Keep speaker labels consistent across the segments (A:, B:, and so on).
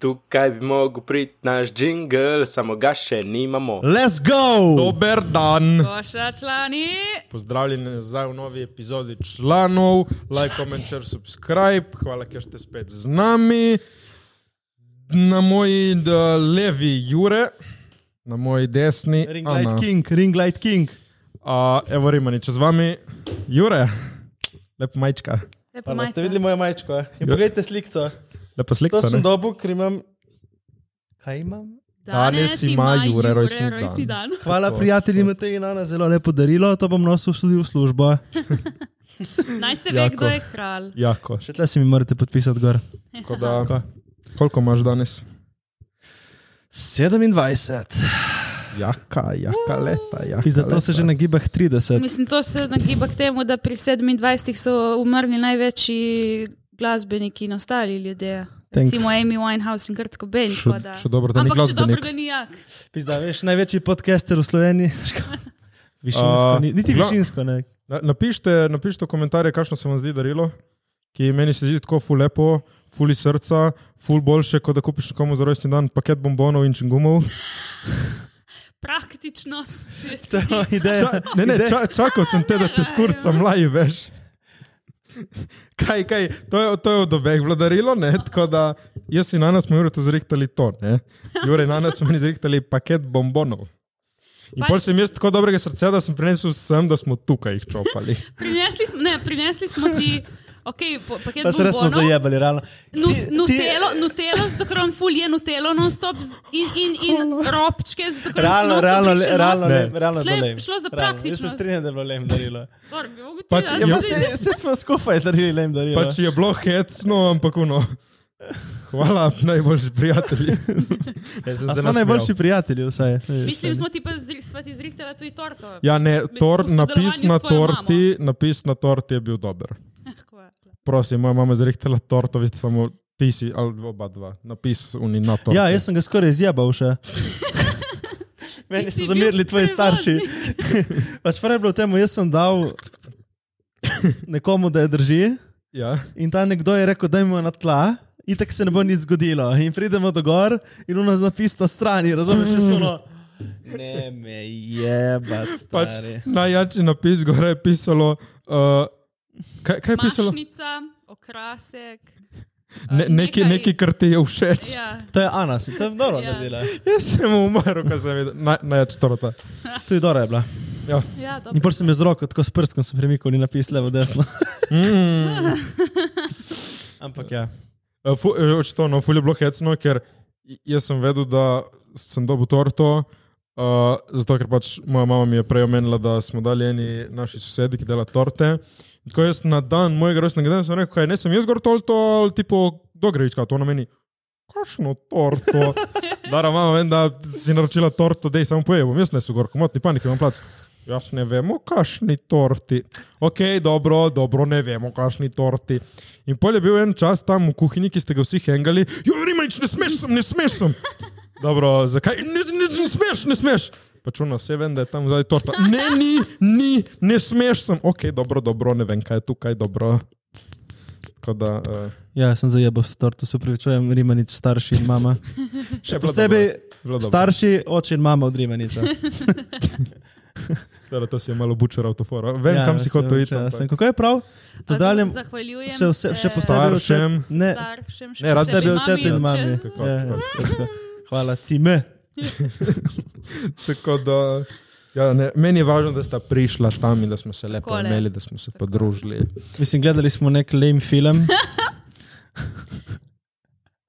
A: Tukaj bi mogel priti naš jingle, samo ga še nimamo.
B: Let's go!
C: Dober dan.
D: Koša člani.
C: Pozdravljeni nazaj v novi epizodi članov, like, comment, share, subscribe, hvala, ker ste spet z nami. Na moji d- levi Jure, na moji desni
B: Ring
C: Ana.
B: light king, ring light king.
C: A, evo Rimani, če z vami Jure, lepa majčka,
D: Lepo
E: Pa ne ste
D: majico.
E: videli mojo majčko. eh? In
C: Ja.
E: poglejte slikico.
C: lepa
E: To
C: slika.
E: sem dobil, ker imam. Kaj imam?
C: Danes ima Jure rojstni dan.
D: dan.
E: Hvala
C: Tako,
E: prijatelji Mateji in Ana, zelo
B: Zelo lepo darilo, to bom nosil tudi v službo.
D: Naj se ve,
C: Jako.
D: kdo je kralj.
C: Jako.
B: Še tle se mi morate podpisati gor.
C: Tako Da, koliko imaš danes?
B: 27.
C: Jaka, jaka leta. Jaka
B: In zato se že na gibah 30.
D: Mislim, to se nagiba k temu, da pri 27 so umrli največji glasbeniki in ostali ljudje.
B: Thanks.
D: Recimo Amy Winehouse in Kurt Cobain.
C: Še-
D: tako da-
C: še dobro, da ni
D: Ampak še dobro,
C: glasbenik.
D: da ni ja. jak.
B: Pizda, veš, največji podcaster v Sloveniji. višinsko,
C: A,
B: ni, niti
E: no.
C: gla-
B: višinsko ne.
C: Na- Napišite, napišite v komentarje, kakšno se vam zdi darilo, ki meni se zdi tako ful lepo, ful iz srca, ful boljše, kot da kupiš nekomu za rojstni dan paket bombonov in čingumov.
D: Praktično. že
B: To je moja ideja.
C: Ča, ne, ne, ča, čakal sem te, da te skurcam laj, veš. Kaj, kaj, to je, to je od obeh vladarilo, ne? Tako da jaz in Ana smo Jure to zrihtali to, ne? Jure in Ana smo meni zrihtali paket bombonov. In
D: Pa-
C: pol sem jaz tako dobrega srca, da sem prinesel sem, da smo tukaj jih čopali.
D: Prinesli smo, ne, prinesli smo ti. Okay, po, paket
B: To se res smo
D: bombonov.
B: zajebali, realno.
D: no? Nu,
B: Ti- ti-
D: nutelo, nutelo, zato ker on ful je nutelo non-stop z- in, in, in robčke, zato ker
B: Realno,
D: on
B: realno, le- realno,
D: ne.
B: lame, realno,
D: Šlo je-
B: lame. Realno,
D: šlo za
B: Jaz se
D: praktičnost. Ja,
B: strinjam, da je bilo lem darilo.
C: Pač
D: Pač,
C: je-
B: Ja,
D: ja,
B: pa se, se smo skupaj darili lem darilo.
C: Pač je bilo hecno, ampak uno. Hvala, najboljši prijatelji. Jaz sem
B: A smo najboljši prijatelji, vsaj.
D: Mislim, smo ti pa zri- sva ti zrihtela tudi torto.
C: Ja, ne, tor,
D: v
C: napis
D: sodelovanju
C: na
D: s tvojo
C: torti, napis na torti je bil dober.
D: Tako je.
C: Prosim, moja mama je zrihtela torto, vi ste samo ti si, ali oba dva, napis uni na torti.
B: Ja, jaz sem ga skoraj izjabal še. Meni
D: Ti
B: so
D: si bil
B: zamirili tvoji starši.
D: prevoznik.
B: Pač prej je bilo temu, jaz sem dal nekomu, da je drži
C: Ja.
B: in ta nekdo je rekel, da ima na tla. In tako se ne bo nič zgodilo. In pridemo do gor, in ono z napis na strani, razumete, če so ono. Ne, me jeba.
C: Pač najjači napis gore je pisalo. Uh, kaj, kaj je pisalo?
D: Mašnica, okrasek.
C: Ne,
D: eh,
C: neki, neki, kar ti je všeč.
D: Ja,
B: To je Ana, se to je dobro
D: Ja.
B: naredila.
C: Jaz sem umrl, ko sem videl. Naj, najjač torta.
B: To je dobro je bila.
D: ja,
B: In
D: dobro.
B: pol sem jo z roko, tako s prstom sem premikal in napis levo, desno.
C: Mm.
B: Ampak ja.
C: Eh, fu- eh, Očitno, no, fulje bilo hecno, ker j- jaz sem vedel, da sem dobil torto. Uh, zato, ker pač moja mama mi je prej omenila, da smo dali eni naši sosedi, ki dela torte. In Tako jaz na dan mojega rojstnega dne sem rekel, kaj ne sem jaz gor torto ali tipo dogrevička, to na meni. Kakšno torto? Dara, mama, vem, da si naročila torto, da je samo pojem, jaz ne sem gor, komotni panik, imam plač. Jaz ne vemo, kakšni torti. Ok, dobro, dobro, ne vemo, kakšni torti. In pol je bil en čas tam v kuhinji, ki ste ga vsi hengali. Jo, Rimanič, ne smeš sem, ne smeš sem. Dobro, zakaj? Ne, ne, ne smeš, ne smeš. Pačuno, vse vem, da je tam zadaj torta. Ne, ni, ni, ne smeš sem. Ok, dobro, dobro, ne vem, kaj je tukaj dobro. Tako da, uh,
B: Ja, sem zajebal s torto, se upravičujem, Rimanič, starši in mama.
C: še
B: Posebej
C: dobro.
B: starši, oče in mama od Rimaniča.
C: Dobro, to si je malo bučer avtofora. Vem, ja, kam si
B: sem
C: hotel iti.
B: večer,
C: ampak-
B: Sem, kako je prav? Pozdravljam
D: Z- Zahvaljujem
B: še, vse, še posebej
C: Staršem.
B: očet- Ne,
D: staršem, še
C: Ne, razen
B: posebej
D: posebej mami
B: očetu in mami.
D: očetu.
C: Tako,
B: Ja,
C: tako,
B: ja, tako. Hvala, cime.
C: Tako da, ja, ne, meni je važno, da sta prišla tam in da smo se lepo
D: Takole.
C: imeli, da smo se podružili.
B: Mislim, gledali smo nek lame film.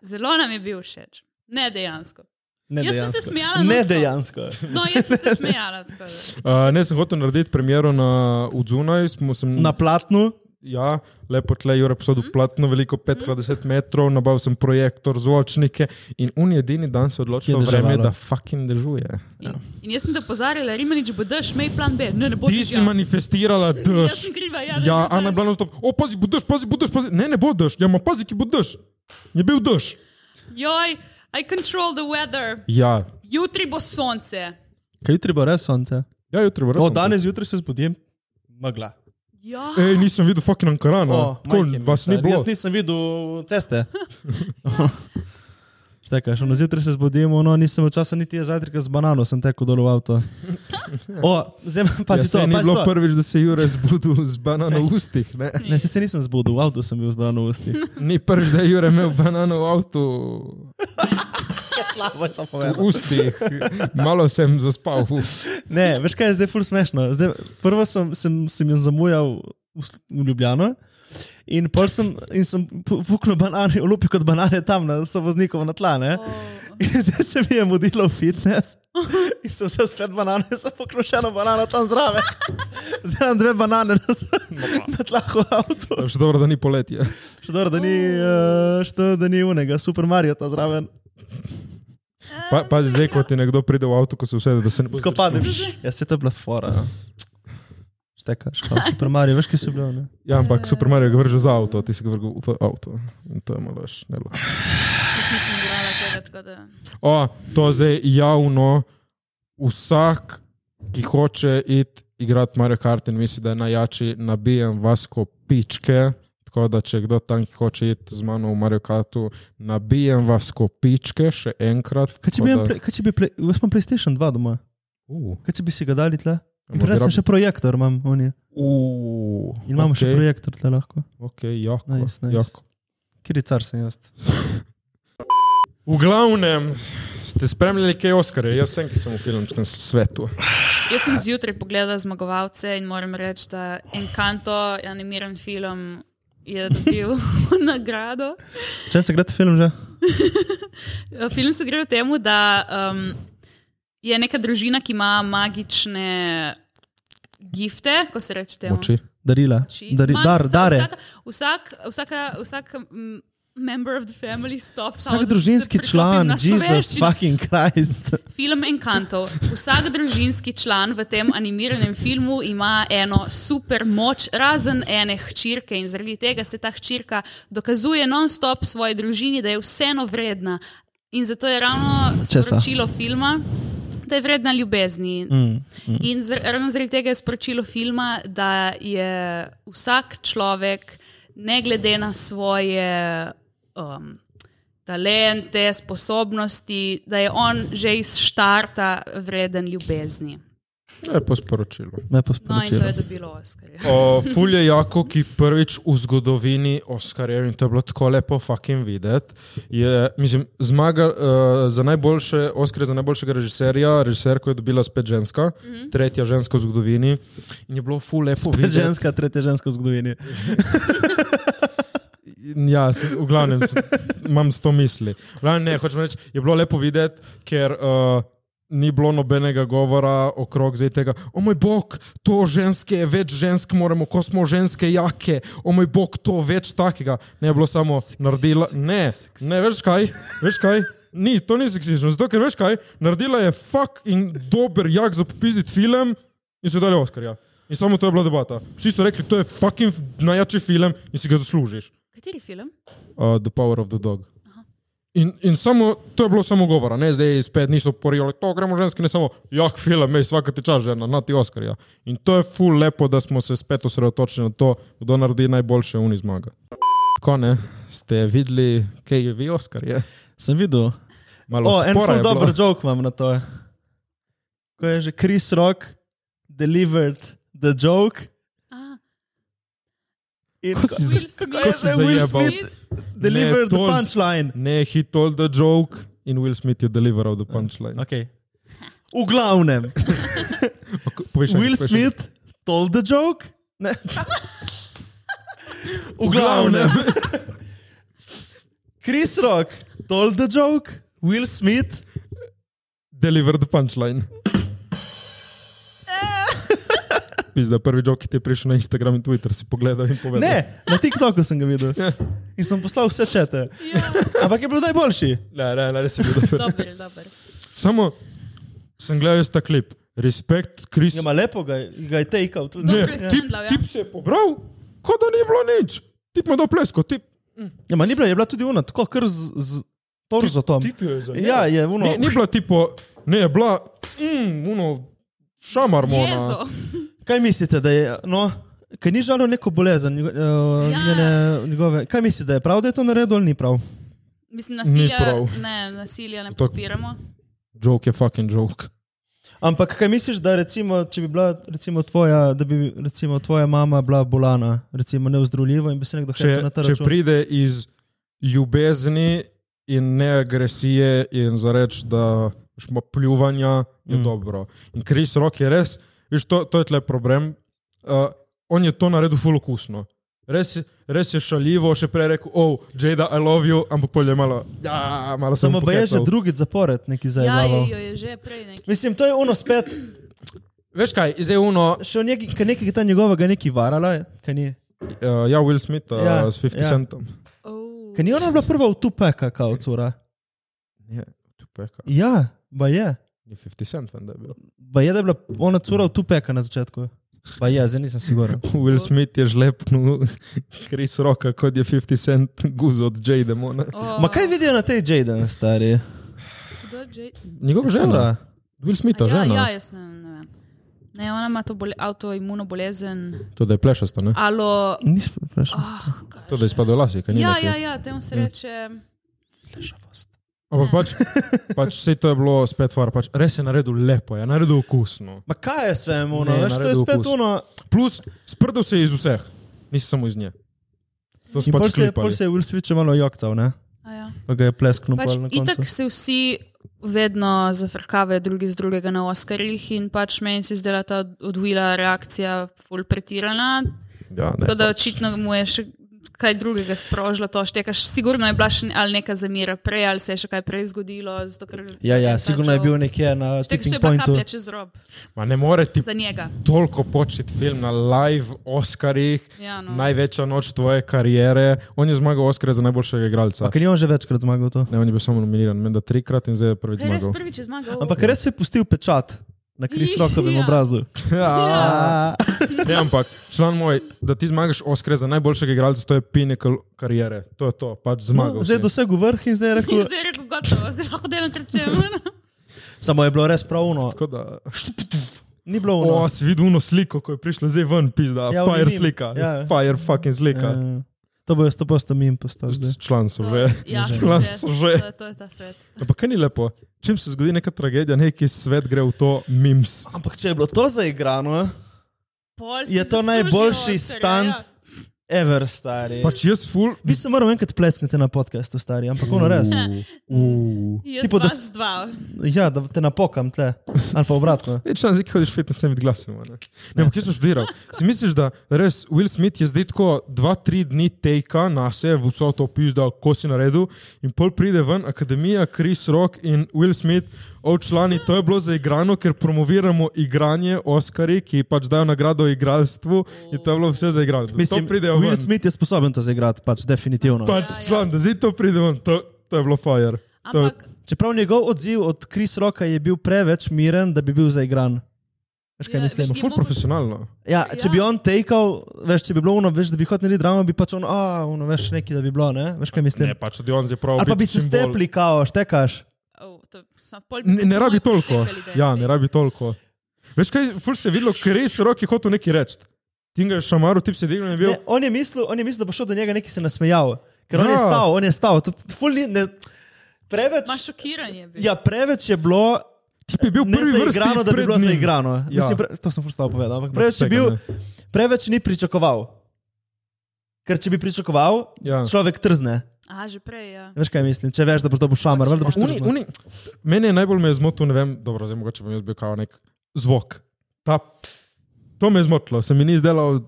D: Zelo nam je bil všeč. Ne dejansko.
B: Ne
D: Jaz sem se
B: dejansko.
D: smejala
B: Ne
D: non-stop.
B: dejansko.
D: No, jaz sem se smejala. tako da.
C: Uh, ne, sem hotel narediti premiero na Udzunaj.
B: Na platnu.
C: Ja, lepo tle, Jure, posodu
D: Mhm.
C: platno, veliko 5x10 metrov, nabavil sem projektor, zvočnike in un edini dan se je odločil,
B: Je
C: vreme,
B: deževalo.
C: da fucking dežuje.
D: In, in jaz sem te opozarjala, Rimanič, bo daš, mej plan B. Ne, ne bo
C: Ti si manifestirala
D: Jaz
C: dež.
D: sem kriva, ja. da
C: Ja,
D: ne bo
C: Ana je
D: dež.
C: bila na stop. O, pazi, bo dež, pazi, bo dež, pazi. Ne, ne bo dež. Ja, ma pazi, ki bo dež. Je bil dež.
D: Joj, I control the weather.
C: Ja,
D: Jutri bo sonce.
B: Kaj jutri bo res sonce?
C: ja jutri bo res.
B: O,
C: sonce.
B: No, danes zjutraj se zbudim. Magla.
D: Ja,
C: Ej, nisem videl fucking Ankarana,
B: O,
C: tako
B: majke mi,
C: vas ni
B: stari,
C: bilo.
B: Jaz nisem videl ceste. tekaš. Ono, zjutraj se zbudim, ono, nisem imel časa niti jaz zajtrka z banano, sem tekel dol v avto. O, zdaj pa
C: ja,
B: si to,
C: saj ni
B: pa si
C: bilo
B: to.
C: prvič, da se Jure zbudil z banano v ustih. Ne?
B: Ne, se, se nisem zbudil, v avtu sem bil zbran v usti.
C: Ni prvič, da je Jure imel banano v avtu
E: Slabo je to
C: v
E: povedal.
C: ustih. Malo sem zaspal. Uf.
B: Ne, veš kaj je zdaj ful smešno. Zdaj, prvo sem, sem, sem jo zamujal v, Sl- v Ljubljano. In pol sem, in sem pu- fuknil banane, olupil kot banane tam, na sovoznikov na tla. Ne? In zdaj se mi je mudilo v fitness. In sem vse spet banane, sem fuknil še eno banano tam zraven. Zdaj imam dve banane na, s- na tlahu avto.
C: Še dobro, da ni poletje.
B: Še dobro, da ni, eh, še dobro, da ni unega, Super Mario tam zraven.
C: Pa, pazi, zdaj, ko ti nekdo pride v avto, ko se usede, da se ne bo
B: Ko padem, ja, se to je bila fora. ja. Štekaš, kot Super Mario, veš, kaj so bile. one?
C: Ja, ampak Super Mario ga vrže za avto, ti si ga vrgel v avto. In to je malo več.
D: Jaz nisem igrala tega, tako da.
C: O, to zdaj javno, vsak, ki hoče iti igrati Mario Kart in misli, da je najjači, nabijem vas kot pičke. Tako da, če kdo tam, ki hoče iti z mano v Mario Kartu, nabijem vas kot pičke, še enkrat.
B: Kaj če
C: tako
B: bi,
C: da-
B: imel play- kaj če bi play, jaz imam PlayStation 2 doma,
C: Uh,
B: kaj če bi si ga dali tle?
C: a
B: In
C: bi
B: Prej sem
C: rab-
B: še projektor, imam oni.
C: Uh,
B: In imamo okay. še
C: okej,
B: projektor tle lahko.
C: Ok, jako,
B: Nice, nice.
C: jako.
B: Kjer je car sem jaz?
C: V glavnem, ste spremljali kaj Oskarje? Jaz sem, ki sem v filmskem svetu.
D: Jaz sem zjutraj pogledala zmagovalce in moram reči, da Encanto, animiran film, je dobil nagrado.
B: Če se gledate film že?
D: Film se gre o tem, da um, je neka družina, ki ima magične gifte, ko se reče temu.
C: Moči.
B: Darila.
D: Oči.
B: Dari,
D: Ima
B: dar,
D: vsa-
B: dare.
D: Vsak, vsak, vsaka, vsak mm, member of the family stop.
B: Vsak družinski član, Jezus, fucking Christ.
D: Film Encanto. Vsak družinski član v tem animiranem filmu ima eno super moč, razen ene hčerke in zaradi tega se ta hčerka dokazuje non-stop svoji družini, da je vseeno vredna. In zato je ravno
B: Česa?
D: sporočilo filma, da je vredna ljubezni.
B: Mm.
D: In zr- ravno zaradi tega je sporočilo filma, da je vsak človek, ne glede na svoje um, talente, sposobnosti, da je on že iz štarta vreden ljubezni.
C: Lepo sporočilo.
B: Ne
D: No, in to je
B: posporočilo.
D: dobilo Oscarja.
C: O, Ful je jako, ki prvič v zgodovini Oscarjev in to je bilo tako lepo fucking videti. Je, mislim, zmaga uh, za najboljše, Oscar za najboljšega režiserja, režiserko je dobila spet ženska, mm -hmm. tretja ženska v zgodovini in je bilo ful lepo
B: Spet
C: videti.
B: ženska, tretja ženska v zgodovini.
C: Ja, s- v glavnem s- imam sto misli. V Glavnem, ne, hočem reči, je bilo lepo videti, ker uh, ni bilo nobenega govora okrog zdaj tega, o moj bog, to ženske, je, več žensk moramo, ko smo ženske jake, o moj bog, to več takega. Ne je bilo samo naredila, ne, ne, veš kaj, veš kaj. Ni, to ni seksično, zato ker veš kaj, naredila je fucking dober jak za popizditi film in so dali Oscarja. In samo to je bila debata. Vsi so rekli, to je fucking najjači film in si ga zaslužiš
D: Kateri film?
C: uh, The Power of the Dog. In, in samo, to je bilo samo govora, ne? zdaj spet niso porijali, to gremo ženski, ne samo, jah, film, mej, vsaka teča žena, na ti Oskarja. In to je ful lepo, da smo se spet osredotočili na to, kdo naredi najboljše uni zmaga. Tako ne, ste videli, kaj je vi Oskar? Je?
B: Sem videl.
C: Malo
B: O, en
C: spora
B: ful
C: je bilo.
B: dober joke imam na to. Ko je že Chris Rock delivered the joke.
D: Ah,
B: In
C: Ko si
D: Will
C: za-
D: Smith.
C: ko si
B: je Will
C: zajebal?
B: Smith delivered the
C: to-
B: punchline.
C: Ne, he told the joke in Will Smith je deliveral
B: Ja.
C: the punchline.
B: Okay. V glavnem,
C: Okay, povej še
B: Will
C: enkrat, povej še enkrat.
B: Smith told the joke. Ne. V glavnem. Chris Rock told the joke, Will Smith.
C: Deliver the punchline. Pizda, prvi joke, ki ti je prišel na Instagram in Twitter, si pogledal in povedal.
B: Ne, na TikToku sem ga videl.
C: Ja.
B: In sem poslal vse čete.
D: ja,
B: Ampak je bil najboljši.
C: ne, ne, ne res je bilo dobro.
D: dober, dober.
C: Samo sem gledal jaz ta klip. Respekt, Kris.
B: Ima Ja, lepo, ga, je- ga je tekal tudi.
C: Ne,
D: Dobro je
C: tip,
D: sendlal, ja.
C: tip se je pobral, kot da ni bilo nič. Tip mu je dal plesko, tip.
B: Ja, ma ni bila, je bila tudi ona, tako kar z, z torzo tam.
C: Tip jo je za.
B: Ja, je ono.
C: Ni, ni bila tipo, ne, je bila, mm, uno, šamarmona.
D: Jezo.
B: Kaj mislite, da je, no, kaj ni žalo neko bolezen, uh,
D: Ja.
B: ja. njene, njegove, kaj mislite, da je prav, da je to naredil ali ni prav?
D: Mislim, nasilja
C: prav.
D: ne, nasilja ne
C: Zato-
D: podpiramo.
C: Joke je fucking joke.
B: Ampak kaj misliš, da recimo, če bi bila recimo tvoja, da bi recimo tvoja mama bila bolana, recimo neuzdravljiva in bi se nekdo hecel
C: Če,
B: na ta
C: če
B: račun?
C: pride iz ljubezni in ne agresije in zareč, da smo pljuvanja, je mm. dobro. In Kris Rock je res, viš, to, to je tle problem. Uh, on je to naredil full okusno. Res, je- res je šaljivo, še prej rekel, oh, Jada, I love you, ampak polje malo, ja, malo sem
B: Samo boje že
C: pohecal."
B: drugič zapored neki
D: Ja, jo
B: zajemal.
D: jo je že prej nekaj.
B: Mislim, to je ono spet,
C: Veš kaj, zdaj uno,
B: še nekaj, kaj nekaj ta njegovega neki varala, kaj ni.
C: uh, ja, Will Smith uh, ja,
B: Ja,
C: s 50 ja.
B: ja.
C: centom.
D: Oh.
B: Ker ni ona bila prva v tupeka, kao cura.
C: Je, tupeka.
B: Ja, ba je.
C: Je 50 cent, vem, da je bil.
B: Ba je, da je bila ona cura v tupeka na začetku. Ba je, zdaj nisem siguren.
C: Will Smith je no, žlepnil Kris Roka, kot je 50 cent guz od J. Demona.
D: Oh.
B: Ma kaj vidijo na tej Jaden, stari?
D: Kdo je Jay-
C: Njegova žena.
B: Cura.
C: Will Smith,
D: A ja,
C: žena.
D: ja, jaz ne, ne vem. Ne, ona ima to bole, avtoimuno bolezen.
C: To da je plešasta, ne?
D: Alo,
B: Nisem vprašal.
D: ah, kaj.
C: To da je spadal lasi, kaj ni.
D: Ja,
C: nekaj.
D: ja, ja, temu se reče.
C: Ampak pač, pač vse to je bilo spet far, pač res je naredil lepo, je naredil okusno.
B: Ma kaj je svem, ono,
C: Ne,
B: veš, to je
C: naredil
B: spet
C: okus.
B: ono.
C: Plus, sprdel se je iz vseh, nisi samo iz nje. To smo
B: In pol
C: pač
B: se, je- pol
C: klipali.
B: se je Will Smith še malo jokcal, ne?
D: A Ja.
B: Pa ga je plesknil
D: Pač,
B: pač na
D: itak
B: koncu.
D: se vsi vedno zafrkavajo drugi z drugega na Oskarjih in pač meni se je zdela ta odvila reakcija ful pretirana.
C: Ja, ne,
D: Tako da
C: pač.
D: očitno mu je še kaj drugega sprožilo to štekaš. Sigurno je bila še ne- ali neka zamira prej ali se je še kaj prej zgodilo. Zato, ker-
B: Ja, ja, sigurno je bil
D: nek.
B: nekje na
D: Tega še
B: tipping
D: je pač bila
B: pointu.
D: kaplja čez rob
C: pač. Ma ne more ti
D: za njega.
C: toliko početi film na live Oscarih,
D: Ja, no.
C: največja noč tvoje kariere. On je zmagal Oscar za najboljšega igralca.
B: Ampak ni on že večkrat zmagal to.
C: Ne, on je bil samo nominiran, menda trikrat in zdaj je prvič
D: Kaj je res
C: zmagal.
D: prvič je zmagal?
B: Ampak res je pustil pečat na Kris Rokovem
D: Ja.
B: obrazu. Ah.
C: Ja. Ne, ampak, član moj, da ti zmagaš Oscar za najboljšega igralca, to je pinnacle kariere. To je to, pač zmagal.
B: No, zdaj je
C: si.
B: dosegel vrh in zdaj je rekel,
D: In zdaj je rekel, gotovo, zdaj lahko delam, kar če
B: samo je bilo res pravno.
C: Tako da.
B: Ni bilo
C: O,
B: ono.
C: si videl uno sliko, ko je prišlo zdaj ven, pizda,
B: Ja,
C: ja, fire
B: oni mim.
C: slika, ja.
B: Ja.
C: fire fucking slika.
B: Ja, ja. To bojo 100% mim postali.
C: Ja.
B: zdaj.
C: Član so že.
D: Ja,
C: član
D: svet.
C: so že.
D: To je- To je ta svet.
C: Ampak kaj ni lepo, čim se zgodi neka tragedija, neki svet gre v to memes.
B: Ampak če je bilo to zaigrano,
D: Pol si
B: je to
D: zaslužil
B: najboljši
D: Oscarja,
B: stand
D: ja.
B: ever, stari.
C: Pač jaz ful.
B: Vi se moramo enkrat pleskati na podkastu, stari, ampak ono res.
D: Ja.
C: Uh, uh.
D: Jaz
B: Tipo, da
D: vas
B: s-
D: dva.
B: Ja, da te napokam tle, ali pa obratno.
C: Ne, če zdaj hodiš fitness, sem vidglasen. Ne, ne ampak jaz sem študiral. Si misliš, da res Will Smith je zdaj tako dva, tri dni teka na se, vso to pizda, ko si naredil, in pol pride ven akademija, Chris Rock in Will Smith, ovčlani, to je bilo zaigrano, ker promoviramo igranje Oscari, ki pač dajo nagrado igralstvu, in to je bilo vse zaigrano. Mislim,
B: Mislim,
C: to pride
B: Will
C: ven. Smith.
B: Smith je sposoben to zaigrati, pač definitivno.
C: Pač član, da zdaj to pride ven, to, to je bilo fire. To-
D: Ampak
B: Čeprav njegov odziv od Kris Roka je bil preveč miren, da bi bil zaigran. Veš kaj
D: Ja,
B: mislim?
D: veš, ti-
C: Ful profesionalno.
B: Ja, če bi
D: Ja.
B: on tekal, veš, če bi bilo ono, veš, da bi hoteli drama, bi pač ono, a, ono, veš, nekaj, da bi bilo, ne? Veš kaj mislim?
C: Ne, pač tudi on zdaj pravi.
B: Ali pa bi se stepli, kao, štekaš.
D: Oh, to, samo pol-
C: Ne, ne rabi
D: pol
C: toliko.
D: poštepali, da je
C: Ja,
D: fake.
C: ne rabi toliko. Veš kaj, ful se je videlo, ker res rok je hotel nekaj reči. Tinga šamaru, tip se je dignil in je bil.
B: Ne, on, je mislil, on je mislil, da bo šel do njega, neki se nasmejal. Ker ja. on
C: Ja.
B: je stal, on je stal. To, ful, ni- ne, preveč,
D: Ma šokiran je bil.
B: ja, preveč je bilo.
C: Tip je bil
B: Ne
C: prvi vrsti.
B: zaigrano, da bi
C: pred
B: bilo
C: njim.
B: zaigrano.
C: Ja.
B: Ja. Mislim, pre, to sem prvo povedal, ampak preveč, je
C: tega
B: bil,
C: ne.
B: preveč ni pričakoval. Ker če bi pričakoval,
C: Ja.
B: ja. človek trzne.
D: A, že prej, ja.
B: Veš kaj mislim, če veš, da boš dobil
C: Pač
B: šamar, valjda boš
C: Uni,
B: trznil.
C: uni, mene je najbolj me je zmotil, ne vem, dobro, zdaj mogoče bom jaz bil kao nek zvok. Ta, to me je zmotilo, se mi ni zdelo,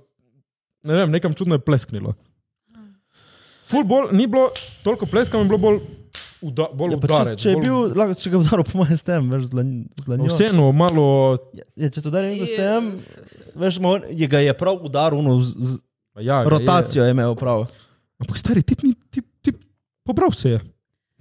C: ne vem, nekam čudno je plesknilo. Ful bolj, ni bilo toliko pleskam, je bilo bolj, uda, bolj
B: Ja,
C: ja,
B: pa če,
C: udarec.
B: če je
C: bolj- No,
B: bil, lahko če ga udaril po mojem s tem, veš, z lan- z lanjo.
C: Vseeno, malo,
B: Ja, če to darim s
D: Je-
B: tem, veš, ma on- je ga je prav udaril, ono, z, z,
C: ja, ga je-
B: rotacijo je imel prav.
C: Ampak stari tip, ni, tip, tip, pobral se je.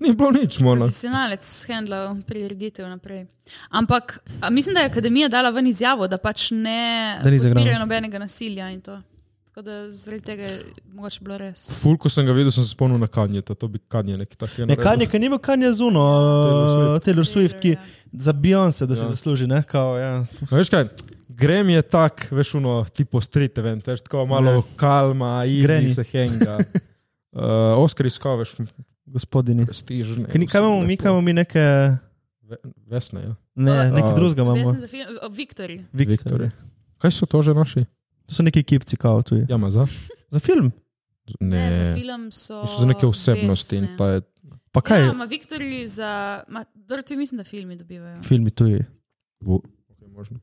C: Ni bilo nič, mola.
D: Profesionalec handla prireditev naprej. Ampak a, mislim, da je akademija dala ven izjavo, da pač ne
B: Da ni zaigrano.
D: podpirajo nobenega nasilja in to. Tako da zaradi tega je mogoče bilo res.
C: Ful, ko sem ga videl, sem se spomnil na kanje, to bi kanje neki tak. je
B: Ne,
C: naredil.
B: Kanye, ki ni bil Kanye zuno,
C: Taylor
B: Taylor, Taylor Swift, ki
D: Taylor, ja.
B: za Beyoncé, da si
C: Ja.
B: zasluži, ne, kao, ja.
C: A Veš kaj, grem je tak, veš, uno, tipo street event, veš, tako malo
B: Ja.
C: kalma,
B: Granny.
C: igri se henga. Uh, Oskar Eh, iskal, veš,
B: gospodini.
C: prestižne.
B: Kaj, ni- kaj imamo mi, kaj imamo mi neke,
C: Vesne, ja.
B: ne, nekaj
C: A,
B: drugega imamo?
D: Vesna za film, o, Viktorji.
B: Viktorje.
C: Viktorje. Kaj so to že naši?
B: To so neki kipci, kao tu.
C: Jama za?
B: Za film.
D: Ne, za
C: Ne.
D: film so.
C: Išli so neke osebnosti in
D: Vesne.
C: ta je.
B: Pa kaj?
D: Ja, ima Viktorji za. Ma, dobro, tudi mislim, da filmi dobivajo.
B: Filmi tuji.
C: Bo- Okay, možno.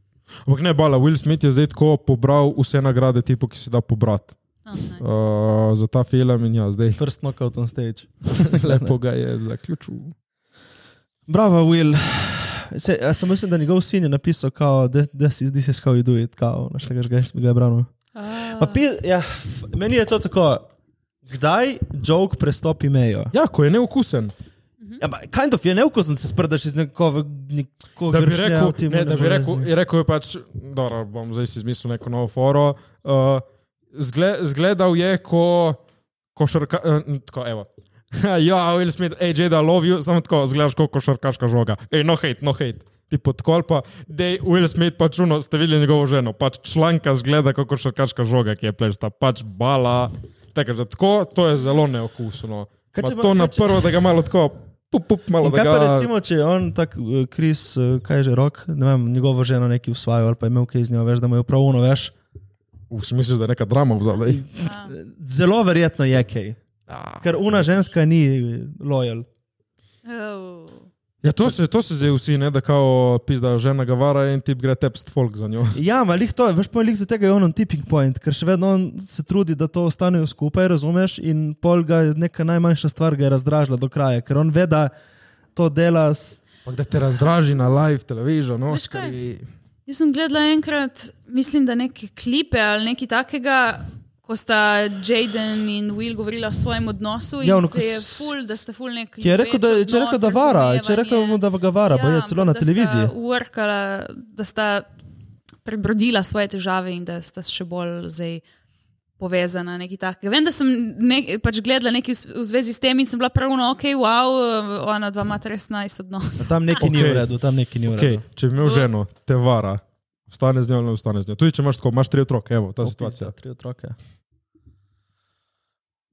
C: Ampak ne, bala, Will Smith je zdaj tako pobral vse nagrade, tipo, ki se da pobrati
D: Oh, nice.
C: uh, za ta film in ja, zdaj
B: First knockout on stage.
C: lepo ga je zaključil.
B: Bravo, Will. Se, jaz sem mislil, da njegov sin je napisal, kao, "This- this is- this is how you do it, kao, naš tega že ga je branil. Pa
D: Ah,
B: pi, ja, f- meni je to tako, kdaj joke prestopi mejo.
C: Ja, ko je neokusen.
B: Ja, ba, kind of je neukusno, da se sprdaš iz nekove,
C: Da
B: nekoga
C: bi rekel, ne, da bi rekel, je rekel je pač, dobro, bom zdaj si izmislil neko novo foro. Uh, zgle, zgledal je, ko košarka, uh, tako, evo. ja, Will Smith, hej, Jada, love you, samo tako, zgledaš kot košarkaška žoga. Hej, no hate, no hate. Tipo tako pa, da je Will Smith pač uno, ste videli njegovo ženo, pač članka zgleda kot košarkaška žoga, ki je plešta, pač bala. Tako, da tako, to je zelo neokusno.
B: Kaj
C: Ma
B: če pa-
C: To
B: kaj
C: na
B: če-
C: prvo, da ga malo tako, pup, pup, malo
B: In
C: da
B: kaj
C: ga.
B: pa recimo, če je on tak, eh, Chris, eh, kaj je že rok, ne vem, njegovo ženo neki usvajal ali pa je imel kaj z njo, veš, da mu je prav uno, veš.
C: V smislu, da je neka drama vzala.
B: Zelo verjetno je kaj,
C: Ah,
B: ker una ženska ni eh, lojal.
D: oh.
C: Ja, to se, to se zdaj vsi, ne, da kao pizdajo žena Gavara in tip gre tepst folk za njo.
B: Ja, malik to je, veš, poleg za tega je on on tipping point, ker še vedno on se trudi, da to ostanejo skupaj, razumeš, in pol ga je neka najmanjša stvar ga je razdražila do kraja, ker on ve, da to dela s...
C: Ampak da te razdraži na live televizijo, no,
D: Veš kaj? Oscarji. Jaz sem gledala enkrat, mislim, da neke klipe ali nekaj takega. Ko sta Jaden in Will govorila o svojem odnosu,
B: Ja,
D: ja,
B: ono,
D: ono,
B: ko
D: se je
B: s-
D: ful, da sta ful nek.
B: Ki je rekel, da, če je rekel, da vara, če je rekel, mu, da ga vara, ja, pa je celo na
D: ampak
B: televiziji.
D: Da sta, workala, da sta prebrodila svoje težave in da sta še bolj zdaj povezana. nekaj takega. Vem, da sem ne, pač gledala nekaj s- v zvezi s tem in sem bila pravno, ok, wow, ona dva imata res najs
B: A
D: odnos.
B: Tam neki okay. ni v
C: Okej.
B: redu, tam neki ni v redu.
C: Okay, če bi imel ženo, te vara, ostane z njo ali ne ostane z njo. Tudi če imaš tako, imaš tri otroke, evo, ta
B: To
C: situacija.
B: piše, Tri otroke.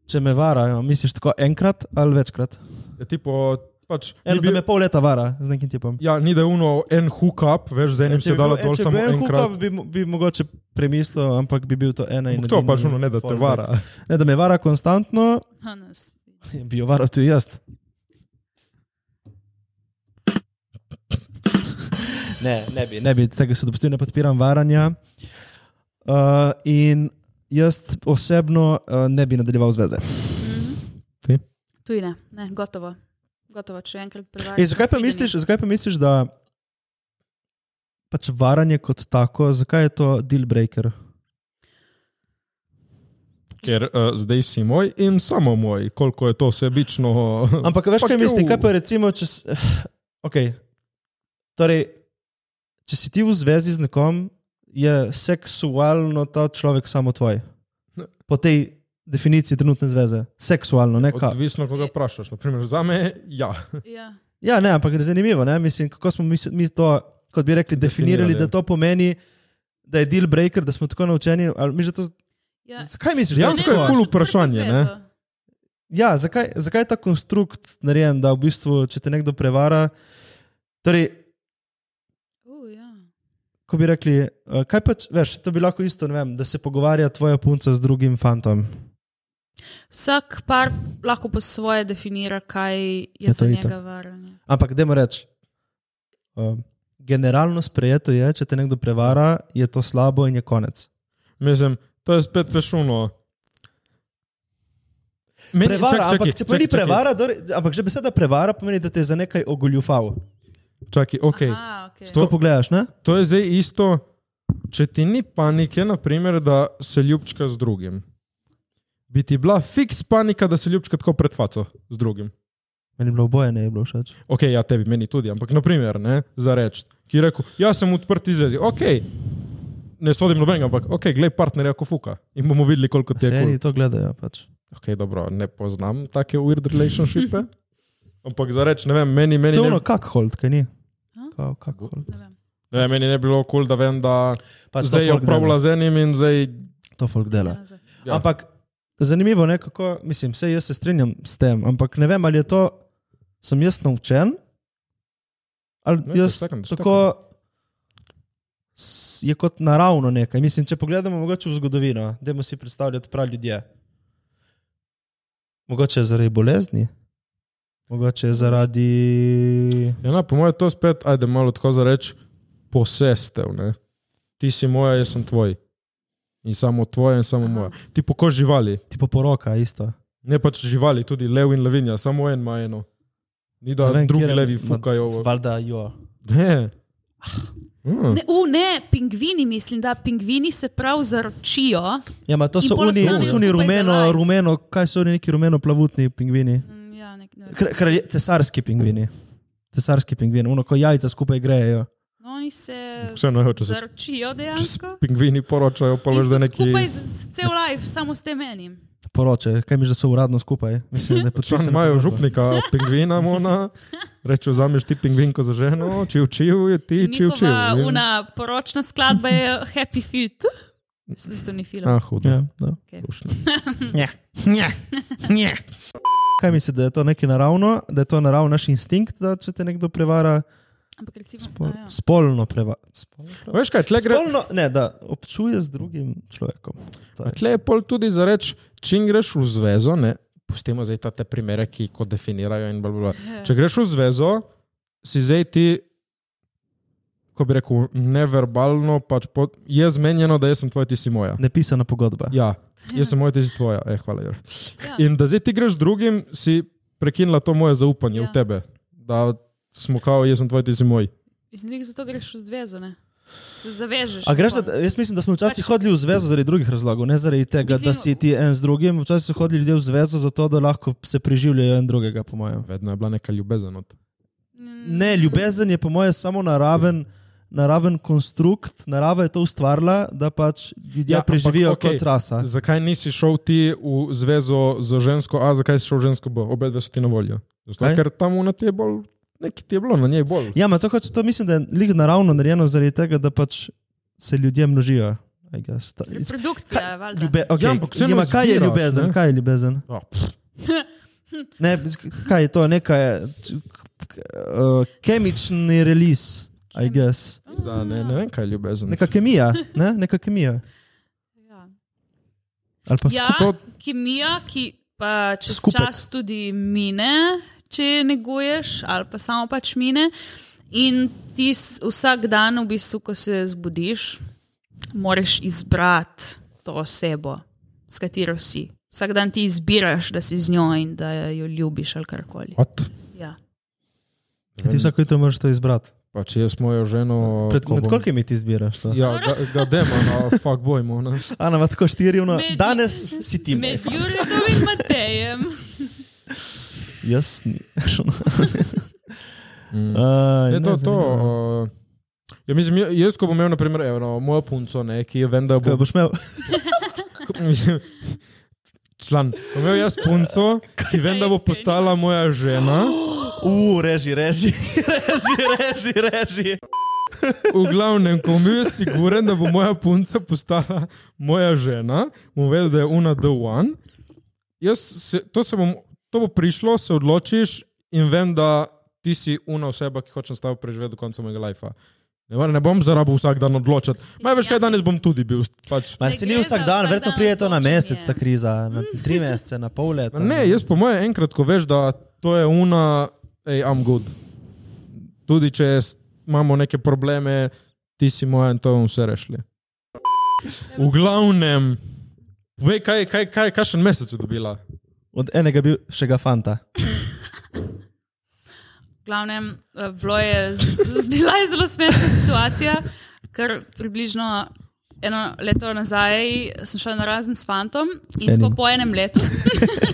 B: Če me varajo, misliš tako enkrat ali večkrat?
C: Je tipo, pač,
B: Eno,
C: ni,
B: da me
C: bil,
B: pol leta vara z nekim tipom.
C: ja, ni da je uno en hookup, veš, z enim
B: Če
C: se
B: bi
C: dala
B: bil- e,
C: dol
B: če bi
C: samo
B: bil en
C: enkrat.
B: hookup, Bi, mo- bi mogoče premislil, ampak bi bil to ena in
C: Ampak To
B: edini
C: pač uno, ne da te
B: fallback.
C: vara.
B: Ne, da me vara konstantno,
D: Hannes.
B: bi jo varal tudi jaz. Ne, ne bi, ne bi tega se dopustil, ne podpiram varanja. Uh, in jaz osebno uh, ne bi nadaljeval zveze.
C: Ti?
D: Mhm. Tudi ne, ne gotovo. Gotovo, če enkrat prevaraš.
B: Ej, zakaj, pa misliš, zakaj pa misliš, da pač varanje kot tako, zakaj je to deal breaker?
C: Ker uh, zdaj si moj in samo moj, koliko je to sebično.
B: Ampak veš,
C: Pa
B: kaj mislim,
C: kev.
B: kaj pa recimo, če. s- Okay. Torej, če si ti v zvezi z nekom, je seksualno ta človek samo tvoj. Po tej definiciji trenutne zveze. Seksualno, ne kaj.
C: Odvisno, koga vprašaš. Naprimer, za me, ja.
D: Ja.
B: Ja, ne, ampak je zanimivo, ne? mislim, kako smo mi, mi to, kot bi rekli, definirali,
C: Definirali,
B: da
C: ja.
B: to pomeni, da je deal breaker, da smo tako naučeni. ali Mi že to,
D: Ja.
B: zakaj misliš, da je
C: Dejansko
B: tako?
C: je kul vprašanje, ne?
B: Ja, zakaj, zakaj je ta konstrukt narejen, da v bistvu, če te nekdo prevara, torej,
D: Uh, ja.
B: ko bi rekli, eh, kaj pa, če- veš, to bi lahko isto, ne vem, da se pogovarja tvoja punca z drugim fantom.
D: Vsak par lahko po svoje definira, kaj
B: to
C: Ja,
D: je, je za
B: itak.
D: njega varanje.
B: Ampak, dajmo reči, eh, generalno sprejeto je, če te nekdo prevara, je to slabo in je konec.
C: Mislim, to je spet vešuno. Meni,
B: Prevara, čak,
C: čak,
B: ampak če pa ni prevara, dore, ampak že beseda prevara pomeni, da te je za nekaj ogoljufal.
C: Čaki, okay.
D: Aha, okay.
B: To pogledaš, ne?
C: To je zdaj isto, če ti ni panike, naprimer, da se ljubčka z drugim. Bi ti bila fiks panika, da se ljubčka tako pred faco z drugim.
B: Meni je bilo oboje, ne je bilo všeč.
C: Ok, ja, tebi, meni tudi, ampak naprimer, ne, za reč, ki je rekel, jaz sem odprt izvezi, ok, ne sodim nobenega, ampak ok, glej partnerja, ko fuka in bomo videli, koliko ti je
B: Se
C: kul.
B: eni to gledajo pač.
C: Ok, dobro, ne poznam take weird relationshipe. Ampak za reč, ne vem, meni, meni,
B: To je
C: ne,
B: ono, kak hold, kaj ni.
D: A?
B: Kao, kak hold.
C: ne, vem, meni ne bi bilo kul, cool, da vem, da
B: Pač to
C: zdaj je
B: folk dela.
C: upravila z enim in zdaj.
B: To folk dela.
D: Ja.
B: Ja. Ampak Zanimivo je, kako, mislim, vse jaz se strinjam s tem, ampak ne vem, ali je to, sem jaz naučen, ali
C: Ne,
B: ne, jaz
C: dočakam, dočakam.
B: tako s- je kot naravno nekaj. Mislim, če pogledamo mogoče v zgodovino, dajmo si predstavljati prav ljudje. Mogoče je zaradi bolezni, mogoče je zaradi.
C: Ja, na, po mojem je to spet, ajde malo tako za reči, posestev. Ne? Ti si moja, jaz sem tvoj. In samo tvoja in samo Aha. moja. Ti poko živali,
B: Tipo poroka, isto.
C: ne pač živali, tudi lev in levinja, samo en ima eno. Ni
B: Ne
C: da vem,
B: vem,
C: Ja, drugi
B: kjer je-
C: levi
B: ma,
C: fukajo ovo.
B: Valjda jo.
C: Ne.
B: Ah.
C: Mm.
D: Ne, u, ne, pingvini, mislim, da pingvini se prav zaročijo.
B: Ja, ma to
D: In
B: so
D: pol
B: oni, to
D: ostanejo
B: so oni
D: skupaj za
B: rumeno,
D: life.
B: rumeno, kaj so oni neki rumeno plavutni pingvini.
D: Mm, Ja, nek, ne. vem.
B: Kra- kralje- Cesarski pingvini. Cesarski pingvini, ono ko jajca skupaj grejejo.
D: No, oni se
C: Vseeno, evo, če se če
D: zaročijo
C: se
D: dejansko.
C: pingvini poročajo, pa
D: In
C: veš,
D: so
C: da neki.
D: Skupaj z, z cel life, samo s tem enim.
B: Poroče, kaj mi že so uradno skupaj. Mislim, da je
C: Če
B: podpisano
C: imajo
B: pogodbo.
C: župnika, pingvina, mona, reče, vzameš ti pingvinko za ženo, čiv, čiv, je ti, čiv, čiv.
D: Njihova
B: ja.
D: una poročna skladba je Happy Feet. V bistvu ni film.
C: Ah, hudo.
B: Ja, da.
C: Lušno.
B: Kaj misliš, da je to nekaj naravno, da je to naraven naš instinkt, da če te nekdo prevara,
D: Ampak recimo,
B: spol,
D: a ja.
B: spolno prevara. Spolno,
C: Veš kaj, tle gre,
B: spolno, ne, da občuje z drugim človekom. To je.
C: tle je pol tudi za reč, čim greš v zvezo, ne, pustimo zdaj ta te primere, ki ko definirajo in bla, bla, bla.
D: Ja.
C: Če greš v zvezo, si zdaj ti, ko bi rekel, neverbalno, pač pod, je zmenjeno, da jaz sem tvoj, ti si moja.
B: Nepisana pogodba.
C: Ja, jaz sem moj, ti si tvoja. Eh, hvala, Jure.
D: Ja.
C: In da zdaj ti greš z drugim, si prekinila to moje zaupanje ja.
D: Ja.
C: v tebe. Da smo kao, jaz sem tvoj, ti si moj.
D: Mislim, da jih zato greš v zvezo, ne? Se zavežeš.
B: A greš, e,
D: na
B: da, jaz mislim, da smo včasih
D: Pač-
B: hodili v zvezo zaradi drugih razlogov, ne zaradi tega, mislim, da
D: Mislim-
B: si ti en z drugim. Včasih so hodili ljudje v zvezo zato, da lahko se preživljajo en drugega, po mojem.
C: Vedno je bila neka ljubezen. Od.
D: Mm.
B: Ne, ljubezen je po mojem samo naraven, naraven konstrukt, narava je to ustvarila, da pač ljudje
C: Ja,
B: ja,
C: ampak
B: preživijo
C: okej.
B: okay. kot rasa.
C: Zakaj nisi šel ti v zvezo z žensko A, zakaj si šel v žensko B? Obe dve so ti na voljo. Zato,
B: Kaj?
C: ker tam na te je bolj, neki ti je bilo, na njej bolj.
B: Ja, ma to, hoč- to mislim, da je lih naravno narejeno zaradi tega, da pač se ljudje množijo. I guess. Ta-
D: Reprodukcija, valjda.
B: Ljube, okay. ja,
C: ampak vseeno
B: ma, kaj je
C: izbiraš,
B: ljubezen?
C: ne?
B: Ne? Kaj je ljubezen?
C: Ja,
B: Ne, kaj je to, nekaj uh, kemični release, I guess.
C: Da, ne, ne vem, kaj je ljubezen.
B: Neka kemija, ne? neka kemija.
D: Ja,
B: Ali pa
D: ja
C: to-
D: kemija, ki pa čez
B: Skupek.
D: Skupek. čas tudi mine, če neguješ, ali pa samo pač mine. In ti s- vsak dan, v bistvu, ko se zbudiš, moraš izbrati to osebo, s katero si. Vsak dan ti izbiraš, da si z njo in da jo ljubiš ali karkoli.
C: Od.
D: Ja.
B: Ja, ti vsako jutro moraš to izbrati.
C: Pa če Pač jaz mojo ženo.
B: Pred,
C: ko
B: med
C: bom-
B: kolikimi ti izbiraš to?
C: Ja, ga, ga demo, no, fuck bojmo. Ne.
B: Ana ima tako štiri, no,
D: Med-
B: danes si ti moj
D: Med
B: fant.
D: Juretom in Matejem.
B: Jaz ni.
C: Mm.
B: Aj,
C: Ne,
B: zanimivo.
C: to, to, uh, ja, mislim, ja- jaz, ko bom imel, naprimer, evno, no, mojo punco, ne, ki je vem, da
B: Kaj
C: bo
B: boš imel?
C: mislim, član. Bom imel jaz punco, ki vem, da bo postala moja žena.
B: U, reži, reži, reži, reži, reži.
C: V glavnem, ko bom bil jaz siguren, da bo moja punca postala moja žena, bom vedel, da je una the one. Jaz se, to, se bom, to bo prišlo, se odločiš in vem, da ti si una oseba, ki hočem s tabo preživeti do konca mojega lajfa. Ne, mar- ne bom zarabil vsak dan odločati. Največ kaj danes bom tudi bil. Pač.
B: Ma
D: Ne
B: se
D: gre
B: ni
D: za
B: vsak
D: vsak
B: dan, verjetno
D: dan
B: pride to na
D: odločanje.
B: mesec, ta kriza, na tri mesece, na pol leta.
C: Ma Ne, jaz po mojem enkrat, ko veš, da to je una, hej, I'm good. Tudi če s- imamo neke probleme, ti si moja in to bomo vse rešili. V glavnem, vej, kaj, kaj, kaj, kakšen mesec je dobila?
B: Od enega bil še ga fanta.
D: V glavnem, eh, bilo je, z- bila je zelo smešna situacija, ker približno eno leto nazaj sem šla na razen s fantom in
B: Enim.
D: tako po enem letu.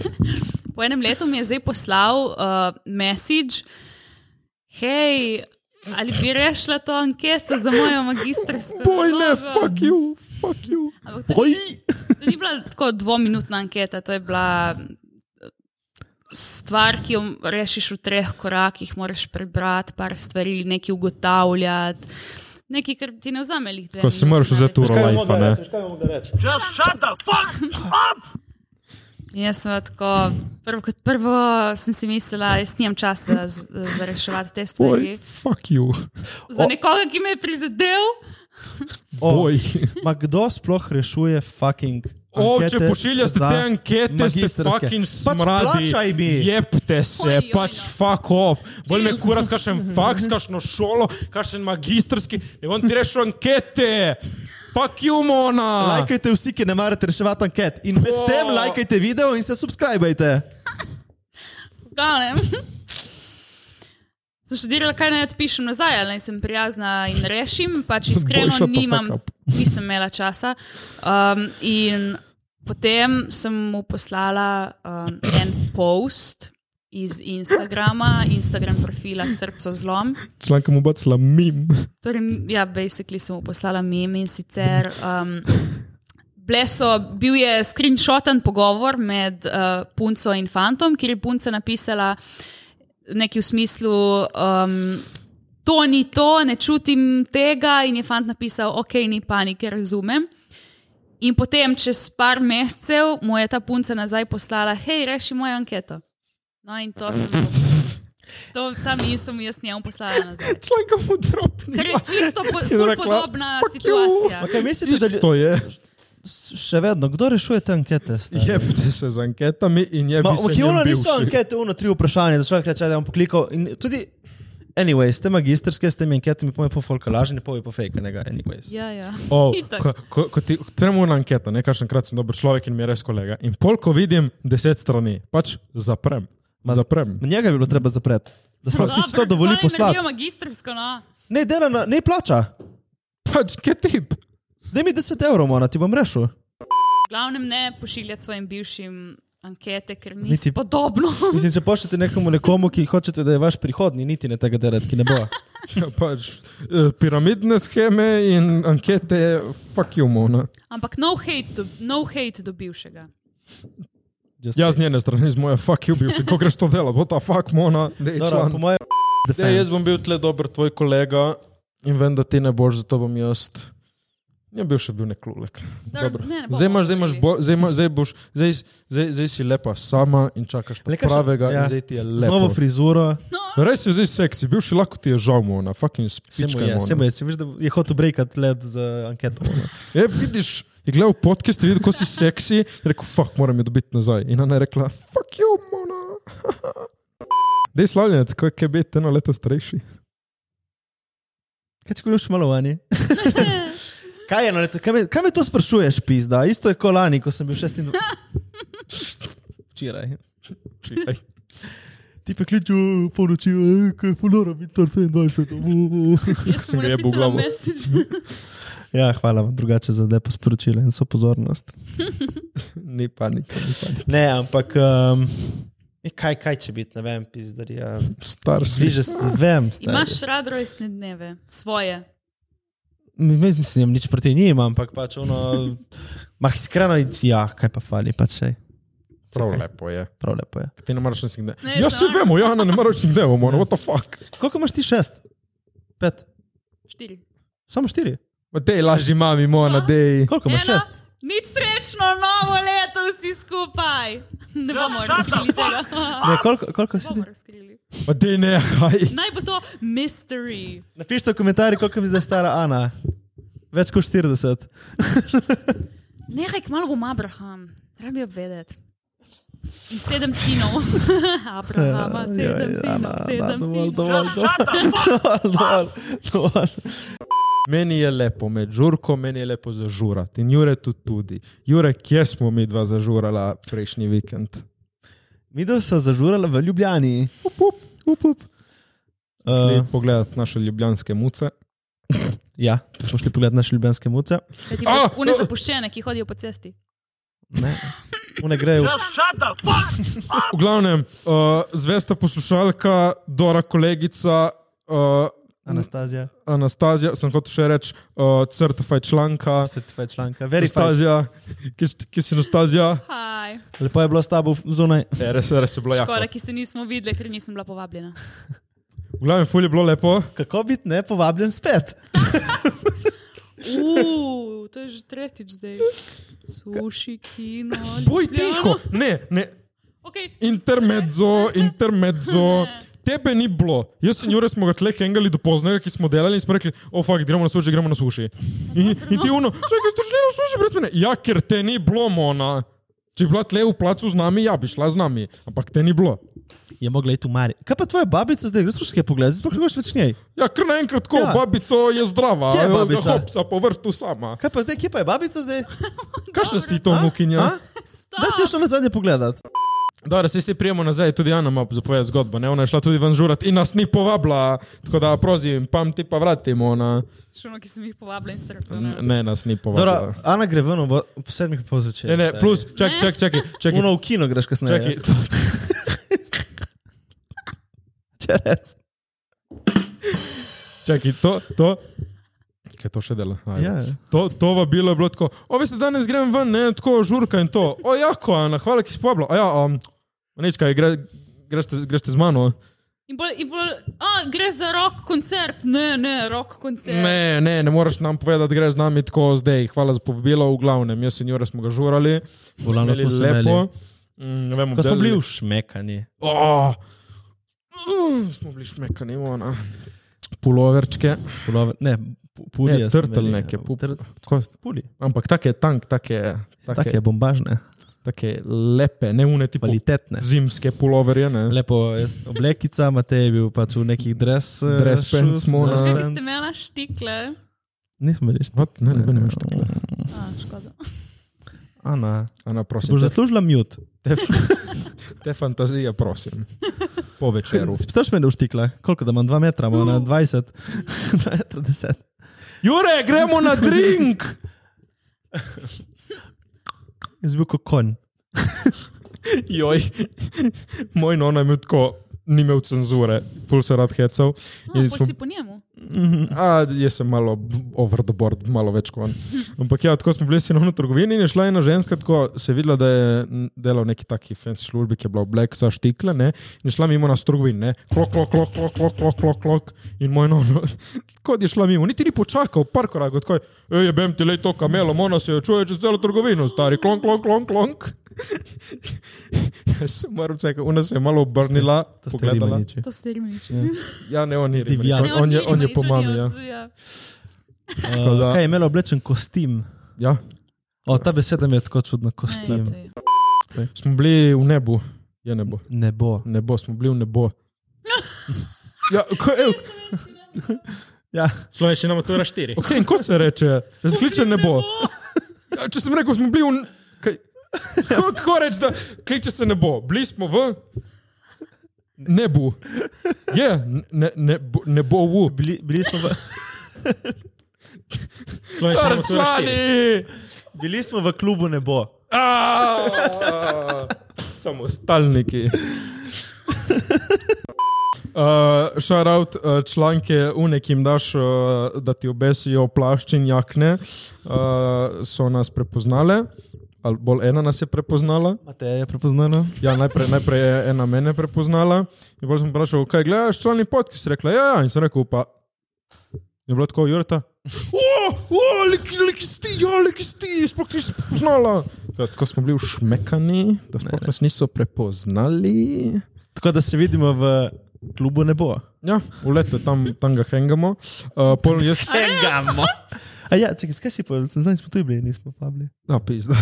D: po enem letu mi je zdaj poslal uh, message, hej, ali bi rešila to anketo za mojo magistrsko.
C: Boj ne,
D: nalogo?"
C: fuck you, fuck you.
D: Ampak to ni, to ni bila tako dvominutna anketa, to je bila eh, stvar, ki jo rešiš v treh korakih. Moraš prebrati par stvari, nekaj ugotavljati, nekaj, kar ti ne vzame. lih dve
C: Ko si
D: minuti,
C: moraš
D: ne.
C: vzeti uro lajfa, ne?
B: Kaj bomo reči?
D: In jaz sem bila tako, prvo kot prvo sem si mislila, jaz nimam časa z- za reševati te stvari.
C: Oj, fuck you.
D: Za nekoga, ki me je prizadel,
C: Boj.
B: Ma kdo sploh rešuje fucking.
C: O, če
B: ankete
C: pošiljaš te
B: za
C: ankete, ste
B: magistrske?
C: fucking
B: pač
C: smradi. Ja.
B: plačaj mi.
C: Jepte
D: Oj,
C: se,
D: oj,
C: pač
D: no.
C: fuck off. Bolj me kuras, kakšen faks, kakšno šolo, kakšen magistrski. Ne bom ti rešil ankete. Fuck you, Mona.
B: Lajkajte vsi, ki ne marate reševati anket. In med
C: O.
B: tem lajkajte video in se subskrbajte.
D: glavnem. Sem študirala, kaj naj odpišem nazaj, ali naj sem prijazna in rešim, pač iskreno
C: shut the fuck
D: nimam,
C: up.
D: nisem imela časa. Um, in potem sem mu poslala um, en post iz Instagrama, Instagram profila Srce zlom.
C: Članka mu bacila mim.
D: Torej, ja, basically sem mu poslala mem in sicer. Um, bile So, bil je screenshoten pogovor med uh, punco in fantom, kjer je punca napisala nekaj v smislu: um, To ni to, ne čutim tega, in je fant napisal: Ok, ni panike, razumem. In potem, čez par mesecev, mu je ta punca nazaj poslala: Hej, reši mojo anketo. No, in to sem. To, ta misel mi je jaz njemu poslala nazaj.
C: Članka mu dropni.
D: Ker je čisto po,
C: Je
D: ful
C: rekla,
D: podobna
C: "Fuck you."
D: situacija.
B: Ma Kaj mislite, da ljudje
C: Isto je.
B: še vedno, kdo rešuje te ankete? stari?
C: Jebite se z anketami in jebite
B: Ma,
C: Ja, se.
B: ki ono
C: njen
B: niso
C: bivši.
B: ankete, ono tri vprašanja, da človek reče, da bom poklikal. In tudi, anyways, te magistrske s temi anketami, pojjo po folka lažne, pojjo po fejkanega, anyways.
D: Ja, ja.
C: Oh,
D: Itak.
C: ko, ko, ko ti tremo na anketo, nekaj krat sem dober človek in mi je res kolega. In pol, ko vidim deset strani, pač zaprem.
B: Ma-
C: zaprem.
B: Njega bi bilo treba zapreti, da sploh
D: Dobro,
B: si to dovoli
D: kako naj
B: poslati.
D: naredijo magistrsko, no.
B: Ne, dela, na, ne plača.
C: Pač, kje tip?
B: Daj mi 10 evrov, mona, ti bom rešil.
D: V glavnem ne pošiljati svojim bivšim ankete, ker ni
B: Niti-
D: Niti... podobno.
B: Mislim, če pošljete nekomu nekomu, ki hočete, da je vaš prihodni, niti ne tega delati, ki ne bo.
C: Ja, pač, eh, piramidne scheme in ankete, fuck you, mona.
D: Ampak no hate, do, no hate do bivšega.
B: Just-
C: Ja, z njene strani, z moje fuck you, bivši, ko greš to delo, bo ta fuck mona, da je
B: Dobro, po
C: član.
B: mojem,
C: Ja, jaz
B: defense.
C: bom bil tle dober tvoj kolega in vem, da ti ne boš, zato bom jaz. Ja, bil še bil nek lulek.
D: Dobro,
C: Dobro.
D: ne, ne bomo
C: Zdaj imaš, zdaj imaš,
D: odkrili.
C: bo, zdaj, ima- zdaj boš, zdaj, zdaj, zdaj si lepa sama in čakaš na
B: Lekaš-
C: pravega,
B: ja.
C: ja. zdaj ti je
B: Z novo
C: lepo.
B: frizuro,
C: Res je zdaj seksi, bil si lahko ti je žal, ona, fucking
B: se mu
C: spička.
B: je,
C: mona.
B: se mu je, se veš, da je hotel brekat led z anketo. mona.
C: Je, E, vidiš, je gledal podcast, je videl, kako si seksi, je rekel, fuck, moram jo dobiti nazaj. In ona je rekla, fuck you, mona. Dej slavljenec, ko je kebet eno leto starejši.
B: Kaj če greš malovanje? kaj je, no, leto, kaj, me, kaj me to sprašuješ, pizda? Isto je kot lani, ko sem bil 26. Včeraj.
C: Čivej.
B: Ti pa kliču po noči, "Ej, kaj je polora, mi to 27.
D: Jaz
C: sem
D: sem
C: ga jebal v
D: napisala
C: glavo.
D: message.
B: ja, hvala vam drugače za lepo sporočilo in so pozornost.
C: Ni panik.
B: Ne, ampak. Um, Kaj, kaj če biti, ne vem, pizdarija.
C: Star si.
B: Bliže se, vem.
D: Imaš rad rojstne dneve, svoje.
B: Mislim, mislim, nič proti njim, ampak pač ono. Mah iskreno, ja, kaj pa fali, pač še.
C: Prav lepo je.
B: Prav lepo je.
C: Ti ne maraš nič dneva.
D: Ne,
C: Ja, se
D: dobro.
C: vemo, ja, ne maraš nič dneva, mora, what the fuck.
B: Koliko imaš ti šest? Pet.
D: Štiri.
B: Samo štiri.
C: Ma dej laži mami, mona, dej.
B: Koliko imaš šest?
D: nič srečno, novo leto vsi skupaj. Ne bomo razkrili tega.
B: Ne,
D: Ah!
B: koliko, koliko si
D: Ne
B: ti?
D: bomo razkrili.
C: Ma dej nehaj.
D: Naj bo to mystery.
B: Napišite v komentarjih, koliko mi zdaj stara Ana. Več kot 40.
D: Nehaj, kmalo bom Abraham, rabijo vedeti. In sedem sinov,
C: Ja,
D: Abrahama, sedem
B: Joj,
D: sinov, sedem
B: dovolj,
D: sinov.
B: dovolj, dovolj, dovolj, dovolj.
C: Meni je lepo med žurko, meni je lepo zažurati. In Jure tu tudi. Jure, kje smo mi dva zažurala prejšnji vikend?
B: Mi da so zažurali v Ljubljani. Up, up, up, up.
C: Uh.
B: Uh,
C: Pogledati naše ljubljanske muce.
B: ja, tu smo šli pogledat naše ljubljanske muce.
D: Kajti
C: Ah!
D: Une zapuščene, ki hodijo po cesti.
B: One grejo.
C: V glavnem, uh, zvesta poslušalka, Dora kolegica, uh,
B: Anastazija,
C: Anastazija, sem hotel še reči, uh, certifaj članka,
B: certifikat članka. Verified.
C: Anastazija, ki, si- ki si Anastazija.
D: Haj,
B: Lepo je bilo s tabo zunaj.
C: E, res, res je bilo jako.
D: škoda, ki se nismo videli, ker nisem bila povabljena.
C: V glavnem, ful je bilo lepo.
B: Kako biti ne povabljen spet?
D: Uuu, to je že tretjič zdaj. Suši, kino.
C: Boj
D: Ljubljana.
C: tiho! Ne, ne,
D: Okay.
C: intermezzo, intermezzo. Tebe ni bilo. Jaz in Jure smo ga tleh engali do poznega, ki smo delali in smo rekli, o fakt, gremo na suši, gremo na suši. In, in ti uno, čakaj, ste šli na suši brez mene. Ja, ker te ni bilo, mona. Če bi bila tle v placu z nami, ja bi šla z nami, ampak te ni bilo.
B: Je mogla iti v Mari. Kaj pa tvoja babica zdaj, greš še kaj pogledati, sploh ne boš več njej.
C: Ja, kar naenkrat, ko
B: Ja.
C: ja. babico je zdrava,
B: Kje je
C: evo ga
B: babica?
C: hopsa po vrtu sama.
B: Kaj pa zdaj, kje pa je babica zdaj?
C: Kakšna si ti to
B: Ja.
C: vnukinja?
B: Da si jo šla nazadnje pogledati.
C: Dobro, saj se prijemo nazaj, tudi Ana ima zapovedati zgodbo, ne? Ona je šla tudi ven žurat in nas ni povabila, tako da prozim, pamti pa vratimo na...
D: Šuno, ki sem jih povabila in
C: N-
D: strpela.
C: Ne, nas ni
B: Dobra,
C: povabila.
B: Ana gre ven ob ob sedmih in pol začeti.
C: Ne, ne, plus, čakaj, čakaj, čakaj, čakaj,
B: Uno v kino greš kasneje.
C: čakaj.
B: Če rec.
C: čakaj, to, to. Kaj to še dela? Ajde.
B: Ja.
C: To, to vabilo je bilo tako, o veste, danes grem ven, ne, tako žurka in to. O, jako, Ana, hvala, ki si povabila. A ja, um, nič kaj, gre, greš, te, greš te z mano?
D: In bolj, in bolj, a gre za rock koncert, ne, ne, rock koncert.
C: Ne, ne, ne moreš nam povedati, da greš z nami tako zdaj. Hvala za povabilo, v glavnem. Jaz in Jure smo ga žurali.
B: Volano smo
C: Imeli
B: se imeli.
C: Mm, ne vem,
B: Ko smo
C: obdelali-
B: bili v šmekanji.
C: Oh, uh, smo bili šmekani, ona. Puloverčke.
B: Pulove, ne, pu- pulije.
C: Ne,
B: smo
C: trtelj
B: imeli,
C: neke,
B: ja,
C: pu-
B: trt-
C: Tako,
B: Pulije.
C: Ampak take tank, take,
B: Take
C: take,
B: bombažne,
C: take lepe, neune tipo
B: kvalitetne.
C: zimske puloverje. Ne?
B: Lepo, jaz, oblekica, Matej je bil pač v nekih dres. eh,
C: Dress
B: shoes,
C: pants smo,
B: dress
C: ne. Kaj
D: Če bi ste
B: pants.
D: imeli štikle,
B: Nismo bili št-
C: What? Ne, ne, ne, ne, ne.
D: a škoda.
B: Ana,
C: Ana,
B: si
C: prosim.
B: boš
C: Te,
B: zaslužila mute.
C: te, te fantazije, prosim. Po večeru.
B: Si pisaš mene v štiklah, koliko da imam, 2 metra, imam na 20, 2 metra 10.
C: Jure, gremo na drink!
B: Jaz bil kot konj.
C: Joj, moj nona je imel tako, ni imel cenzure, ful se rad hecal.
D: A,
C: In
D: Ja, pol
C: smo,
D: si po njemu.
C: a, jaz sem malo b- over the board, malo več kot on. Ampak ja, tako smo bili sinovno v trgovini in je šla ena ženska, tako se je videla, da je n- delala v neki taki fancy službi, ki je bila oblek za štikle, ne, in je šla mimo nas v trgovini, ne, klok, klok, klok, klok, klok, klok, klok, klok. in moj nono, kot je šla mimo, niti ni počakal, par korakov, tako je, "Ej, jebem ti le to kamelo, mona se jo čuje čez celo trgovino, stari, klonk, klonk, klonk, klonk. Jaz sem moral čakati, ona se je malo obrnila,
B: To ste
C: pogledala.
B: gledali.
D: To ste imeli.
C: Ja, ne, on ni rekel.
B: Divjak.
C: On, je- on je po mami. Ja. Tako da-
B: Kaj je imela oblečen kostim?
C: Ja.
B: O, ta beseda mi je tako čudna, kostim.
C: Smo bili v nebu, je nebo.
B: Ne bo.
C: Nebo, smo bili v nebo. Ja, ko, ev,
B: Ja,
F: Slovenščina matura 4.
C: okay, in ko se reče, kliče nebo. Ja, če sem rekel, smo bili v. n- Kaj, kako kako reči, da kliče se nebo? Bili smo v nebu. Je, ne, ne, ne bo v.
B: bili, bili, smo v,
F: Slovenščina matura 4.
C: Arčani!
B: bili smo v klubu ne bo.
C: Aaa! Samostalniki. Uh, Šaraut uh, članke, unekim daš, uh, da ti obesijo plašč in jakne, uh, so nas prepoznale, ali bolj ena nas je prepoznala.
B: Matej je prepoznala.
C: Ja, najprej, najprej je ena mene prepoznala. In potem sem vprašal, kaj gledaš, člani podcast. Rekla je, ja, ja, in sem rekel, pa. Je bilo tako, Jurta. O, o, leki, leki sti, ja, leki sti, sploh ti si prepoznala. Ja, tako smo bili ušmekani, da sploh nas niso prepoznali.
B: Tako da se vidimo v klubu ne bo.
C: Ja, v letu tam, tam ga hengamo. Uh, pol jaz.
B: Engamo. A ja, čekaj, kaj si povedal? Sem zadnjič smo tu bili, nismo pa bili.
C: Ja, pizda,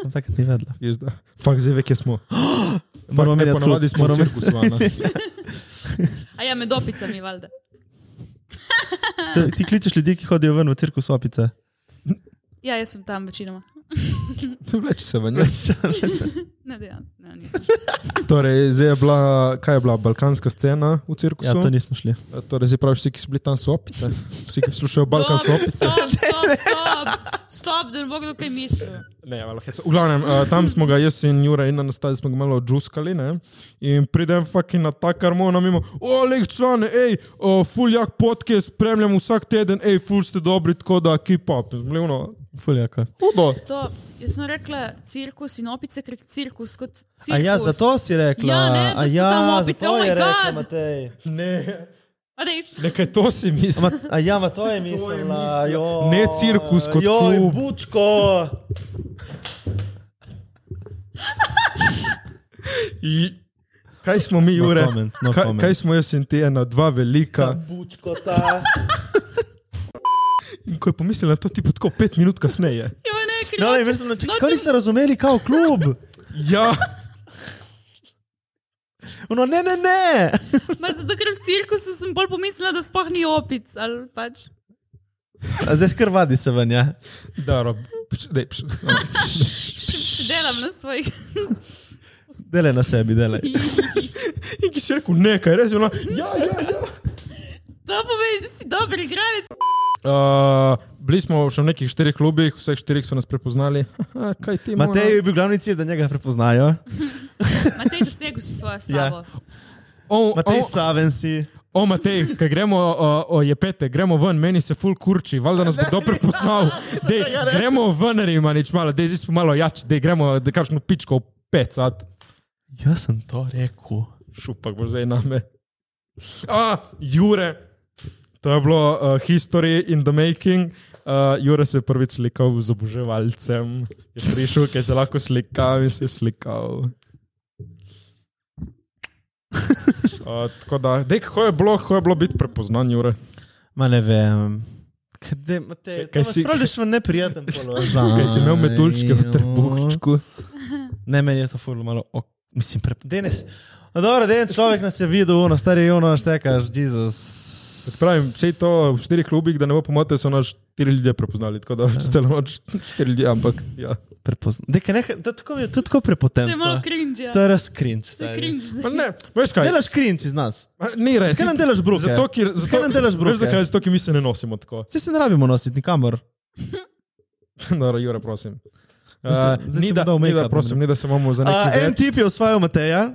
B: Sem takrat ni vedela.
C: pizda. Fak, zdaj ve, kje smo. Fak,
B: Moramo
C: ne,
B: menjati klub,
C: ponavadi smo v
B: moramo-
C: cirkusu. Ana.
D: A ja, med opicami, valjda.
B: Te- Ti kličeš ljudi, ki hodijo ven v cirkus opice.
D: Ja, jaz sem tam večinoma.
C: Vleči se ven. ja.
D: Ne, dejan, ne, nisem.
C: Torej, zdaj je bila, kaj je bila, balkanska scena v cirkusu?
B: Ja, to nismo šli.
C: Torej, zdaj praviš, vsi, ki so bili tam, so opice. Vsi, ki poslušajo Balkan, so
D: Stop,
C: opice.
D: stop, stop, stop, stop, da ne bo kdo kaj mislil.
C: Ne, malo hecam. V glavnem, uh, tam smo ga, jaz in Jure, in nastavi smo ga malo odžuskali. Ne? In pridem fucking na ta karmona mimo, oleg član, hej, uh, full jak podcast, spremljam vsak teden, hej, full ste dobri, tako da keep up. Zmlevno,
B: Fuljaka.
C: hudo.
D: Stop. Jaz sem rekla cirkus in opice, ker cirkus kot cirkus.
B: A ja, zato si rekla.
D: Ja, ne, da
B: A
D: so
B: ja,
D: tam opice,
B: zato
D: oh my
B: je rekla
D: God.
B: Matej.
C: Ne,
D: A daj,
C: Nekaj to si mislim.
B: Ma, a ja, ma to je mislila. jo.
C: Ne cirkus kot
B: Joj,
C: klub.
B: bučko.
C: Kaj smo mi,
B: No
C: Jure?
B: comment, no
C: kaj,
B: comment.
C: kaj smo jaz in ti ena, dva velika?
B: Bučko ta.
C: In ko je pomislil na to, ti pa tako pet minut kasneje.
D: jo, ne, ker
B: No, ne,
D: nočem-
B: mislim, če
D: nočem-
B: kaj niste razumeli, kao klub.
C: Ja,
B: No, ne, ne, ne.
D: Ma zato, ker v cirkusu sem bolj pomislila, da sploh ni opic. ali Pač.
B: A zdaj skrvadi se ven, ja.
C: da, rob. Pš, dej, pš.
D: Še Delam na svojih.
B: Delaj na sebi, delaj.
C: In ki si rekel nekaj, res je ono. Ja, ja, ja.
D: To pomeni, da si dober igralec.
C: Uh, bili smo še v nekih štirih klubih, vseh štirih so nas prepoznali. Haha, kaj ti imaš?
B: Matej je bil glavni cilj, da njega prepoznajo.
D: Matej, dosegel si svojo
C: Ja.
D: slavo.
C: O,
B: Matej,
C: o,
B: slaven si.
C: o, Matej, kaj gremo, o, o, je pete, gremo ven, meni se ful kurči, valjda nas bo kdo prepoznal. Dej, gremo ven, rima nič malo, dej zdaj smo malo jači, dej gremo, da kakšno pičko pecat.
B: Jaz Ja, sem to rekel.
C: Šupak bo zdaj name. A, Jure, to je bilo uh, history in the making. Uh, Jure se je prvič slikal z oboževalcem, je prišel, ki se lahko slika in se je slikal. Uh, tako da, dej, kako je bilo, kako je bilo biti prepoznan, Jure?
B: Ma ne vem. Kde, Matej,
C: Kaj
B: kaj
C: si-
B: si? Spravljaš v neprijeten položaj. no.
C: Kaj si imel meduljčke v trebuhčku?
B: Ne, meni je to furlo malo. Ok. Mislim, pre... Denes. No, dobro, den človek nas je videl, ono, stari ono, štekaš, Jezus.
C: Kot Pravim, vse to v štirih klubih, da ne bo pomote, so nas štiri ljudje prepoznali. Tako da, če celo noč štiri ljudje, ampak ja.
B: Prepozna... Deke, ne, to, je tako, to je tako
D: To je malo
B: prepotentno.
D: cringe. ja.
B: To je res cringe.
D: To je
B: stari.
D: cringe.
C: Pa
D: zdaj.
C: ne, veš kaj?
B: Delaš cringe iz nas.
C: Ma, Ni res.
B: Zakaj nam delaš bruke?
C: Zato, ker, zato,
B: Zakaj nam delaš bruke?
C: Veš, zakaj? Zato, ker mi se ne nosimo tako.
B: Vse se ne rabimo nositi nikamor.
C: Dobro, Jure, prosim. Uh,
B: Zdaj se- zdaj
C: ni,
B: sem
C: da,
B: dal
C: ni, da,
B: make-up,
C: prosim,
B: ne.
C: ni da se imamo za
B: A,
C: nekaj.
B: en
C: več.
B: tip je osvajal Mateja.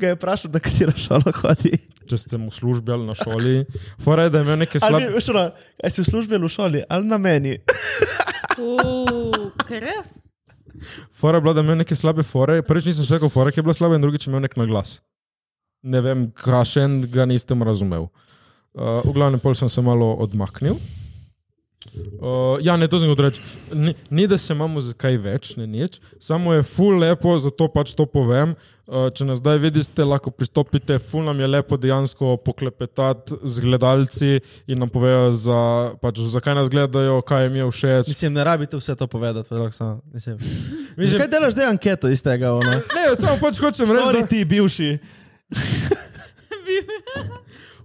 B: Ga je vprašal, na katero šolo hodi.
C: Če sem v službi ali na šoli, fora je, da imam neke
B: Ali
C: slabe.
B: bi šlo, ali si v službi ali v šoli, ali na meni.
D: Uh, Kaj res?
C: Fora je bila, da imam neke slabe fore. Prvič nisem rekel fora, ki je bila slaba, in drugič imel nek naglas. Ne vem, kašen ga nisem razumel. Uh, v glavnem, pol sem se malo odmaknil. Uh, ja, ne, to sem odreč. Ni, ni, da se imamo za kaj več, ne nič, samo je ful lepo, zato pač to povem. Uh, če nas zdaj vidite, lahko pristopite, ful nam je lepo dejansko poklepetati z gledalci in nam povejo, za, pač, zakaj nas gledajo, kaj jim je všeč.
B: Mislim, ne rabite vse to povedati, pa lahko samo. Mislim. Mislim, kaj delaš, da je anketo iz tega? ono?
C: Ne, samo pač hočem reči, da
B: Sorry, ti bivši.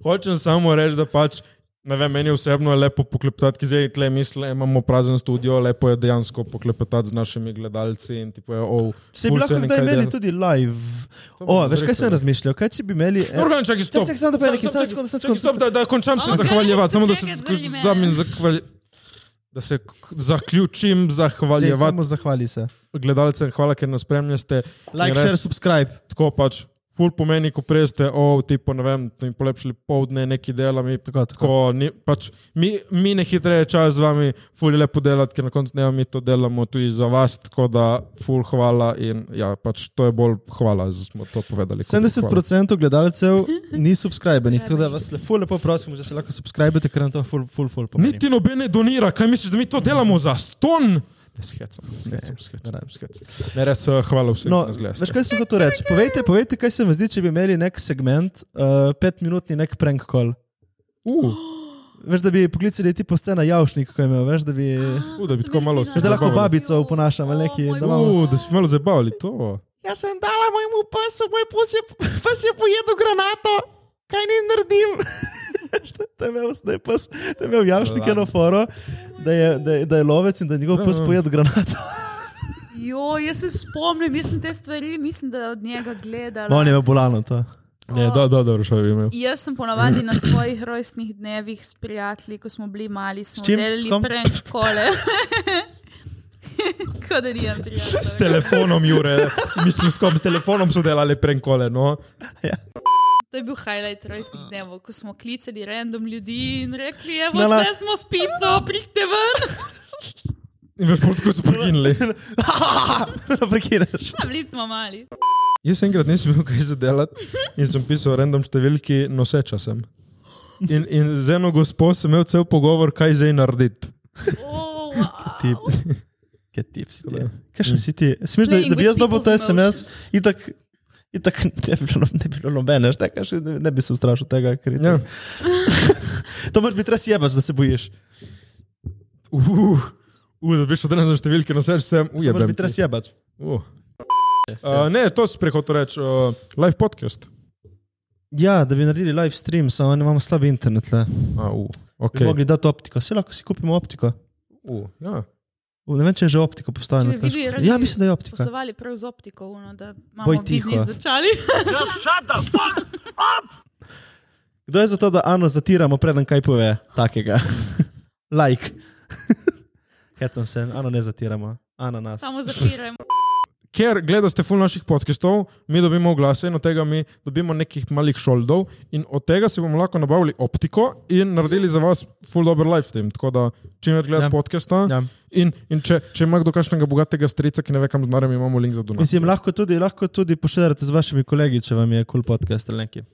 C: Hočem samo reči, da pač. Ne vem, meni osebno je lepo poklepetati, ki zdaj tle misli, imamo prazen studio, lepo je dejansko poklepetati z našimi gledalci. in Ti pojejo, oh,
B: Se bi lahko kdaj imeli tudi live. O, veš, kaj sem razmišljal? Kaj če bi imeli. eh,
C: Organ, čakaj, stop.
B: čakaj, samo da povem nekaj, samo
C: čakaj,
B: sekundo, samo
C: čakaj,
B: sekundo,
C: stop, da, da končam se
D: Ampak
C: zahvaljevati, samo da se
D: gledaj, se
C: zahval-
D: strelime.
C: zdam in zahvaljujem. Da se k- zaključim,
B: Dej,
C: zahvaljevati
B: Samo zahvali se.
C: gledalcem, hvala, ker nas spremljate. In
B: Like,
C: res-
B: share, subscribe.
C: Tako pač, ful pomeni, ko prejste, o, oh, ti pa ne vem, ti polepšali povdne, neki delami,
B: Tako, tako.
C: Tako, ni, pač, mi, mi ne hitreje čas z vami, ful je lepo delati, ker na koncu dneva mi to delamo tudi za vas, tako da ful hvala in ja, pač to je bolj hvala, da smo to povedali. kot hvala.
B: 70% gledalcev ni subskrbenih, tako da vas lepo, lepo prosim, da se lahko subskrbite, ker nam to ful, ful, ful pomeni.
C: Niti noben ne donira, kaj misliš, da mi to delamo za ston? Ne, Skecam, skecam, skecam, skecam. Ne, res eh, hvala vsem,
B: No,
C: ki nas
B: veš,
C: gledate.
B: kaj sem hotel reči? Povejte, povejte, kaj se vam zdi, če bi imeli nek segment, uh, petminutni nek prank call.
C: Uh,
B: Veš, da bi poklicali ti po scena Javšnik, ko je imel, veš, da bi...
C: U, da bi tako malo se
B: Veš, da lahko
C: zabavali.
B: babico uponašam ali neki, da imamo...
C: uh, da si malo zabavali to.
B: Jaz sem dala mojemu pasu, moj pes je, pes je pojedel granato, kaj naj naredim? Veš, to- to je imel, da je pes, to je imel Javšnik eno foro, da je, da, je, da je lovec in da je njegov pes pojedel granato.
D: Jo, jaz se spomnim, jaz sem te stvari, mislim, da od njega gledala.
B: No, ne, bolano to.
C: Ne, da, da, dobro, šel bi imel.
D: Jaz sem ponavadi na svojih rojstnih dnevih s prijatelji, ko smo bili mali, smo
B: S čim? S
D: delali
B: kom?
D: prank kole. Kot da nimam prijatelja.
C: S telefonom, Jure, mislim, s kom, s telefonom so delali prenkole, no.
D: To je bil highlight rojstnih dnevov, ko smo klicali random ljudi in rekli, evo,
B: Na, na.
D: da smo s pico, pridite ven.
C: In veš, pol tako so prekinili.
B: Prekiraš.
D: Ja, bili smo mali.
C: Jaz enkrat nisem imel kaj za delati in sem pisal random številki noseča sem. In, in z eno gospo sem imel cel pogovor, kaj zdaj narediti.
D: Oh,
B: Tip. Kaj tip si ti? Kaj še si ti? Smeš, da, da bi jaz dobil ta SMS, itak, itak ne bi bilo, ne bi bilo nobene, šta, kaj še, ne, ne bi se ustrašil tega, ker je to.
C: Ja.
B: To moraš biti res jebaš, da se bojiš.
C: Uh, uh, da bi šel danes na številke noseč sem.
B: Se moraš
C: Ujebem.
B: biti res ja- jebač.
C: Uh. Uh, ne, to si prehotel reči, uh, live podcast.
B: Ja, da bi naredili live stream, samo ne imamo slab internet. Le.
C: A, uh,
B: Okay. Bi
C: okay.
B: mogli dati optiko, se lahko si kupimo optiko.
C: uh, ja.
B: U, Ne vem, če je že optiko postavljena.
D: Če bi vi
B: težko.
D: radi
B: Ja, mislim, da je optika.
D: Poslovali prav z optiko, uno, da imamo
B: Boj tiho.
D: biznis začeli.
B: Kdo je za to, da Ano zatiramo, preden kaj pove takega? like. Hecam se, Ano ne zatiramo, Ano nas.
D: Samo zapirajmo.
C: Ker gledate ful naših podcastov, mi dobimo oglase in od tega mi dobimo nekih malih šoldov in od tega si bomo lahko nabavili optiko in naredili za vas ful dober live stream. Tako da čim več gledate
B: Ja.
C: ja. podcasta ja.
B: Ja.
C: in, in če, če ima kdo kakšnega bogatega strica, ki ne ve kam z narem, imamo link za
B: In si
C: donacijo.
B: jim lahko tudi, lahko tudi poširjate z vašimi kolegi, če vam je kul cool podcast ali nekaj.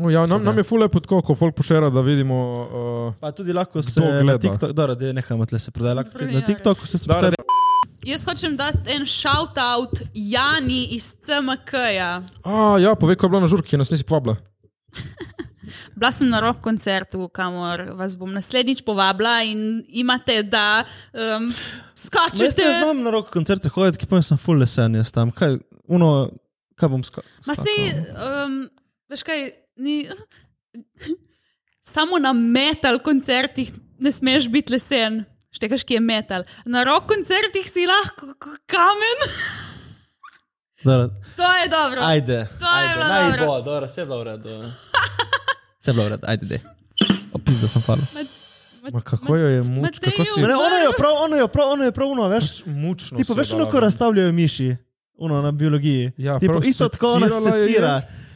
C: O, Ja, nam, nam je ful lepo tako, ko folk pošera, da vidimo. Uh,
B: Pa tudi lahko se
C: Kdo gleda?
B: na TikToku, dobro, da nehamo tle se prodajati, lahko tudi na
D: Primerjave.
B: TikToku se
C: da,
B: spremlja.
C: re,
D: Jaz hočem dati en shout-out Jani iz CMK-ja.
C: a, ja, povej, ko je bila na žurki, nas nisi povabila.
D: Bila sem na rock koncertu, kamor vas bom naslednjič povabila in imate, da um,
B: Če
D: skačete.
B: ste znam na rok koncerte hoditi, ki pa sem full lesen, jaz tam. Kaj, uno, kaj bom skal?
D: Ma sej, um, veš kaj, ni, samo na metal koncertih ne smeš biti lesen. Štekaš, ki je metal. Na rock koncertih si lahko k- kamen.
B: Dobro,
D: To je dobro.
B: Ajde,
D: To je
B: ajde,
D: bilo
B: naj
D: dobro.
B: bo, dobro, vse je bilo v redu. Vse je bilo v redu, ajde, dej. Opis, da sem falil.
C: Ma kako jo je muč,
D: Mateju.
C: kako si
B: Ne, ono je prav, ono je prav, ono je prav, ono, veš. Ti
C: mučno.
B: pa
C: si
B: veš,
C: jo
B: ono,
C: dala
B: ko
C: ven.
B: razstavljajo miši, ono na biologiji.
C: Ja,
B: Ti pa
C: prav
B: isto tako ona
C: secirala je, ja.
B: secira.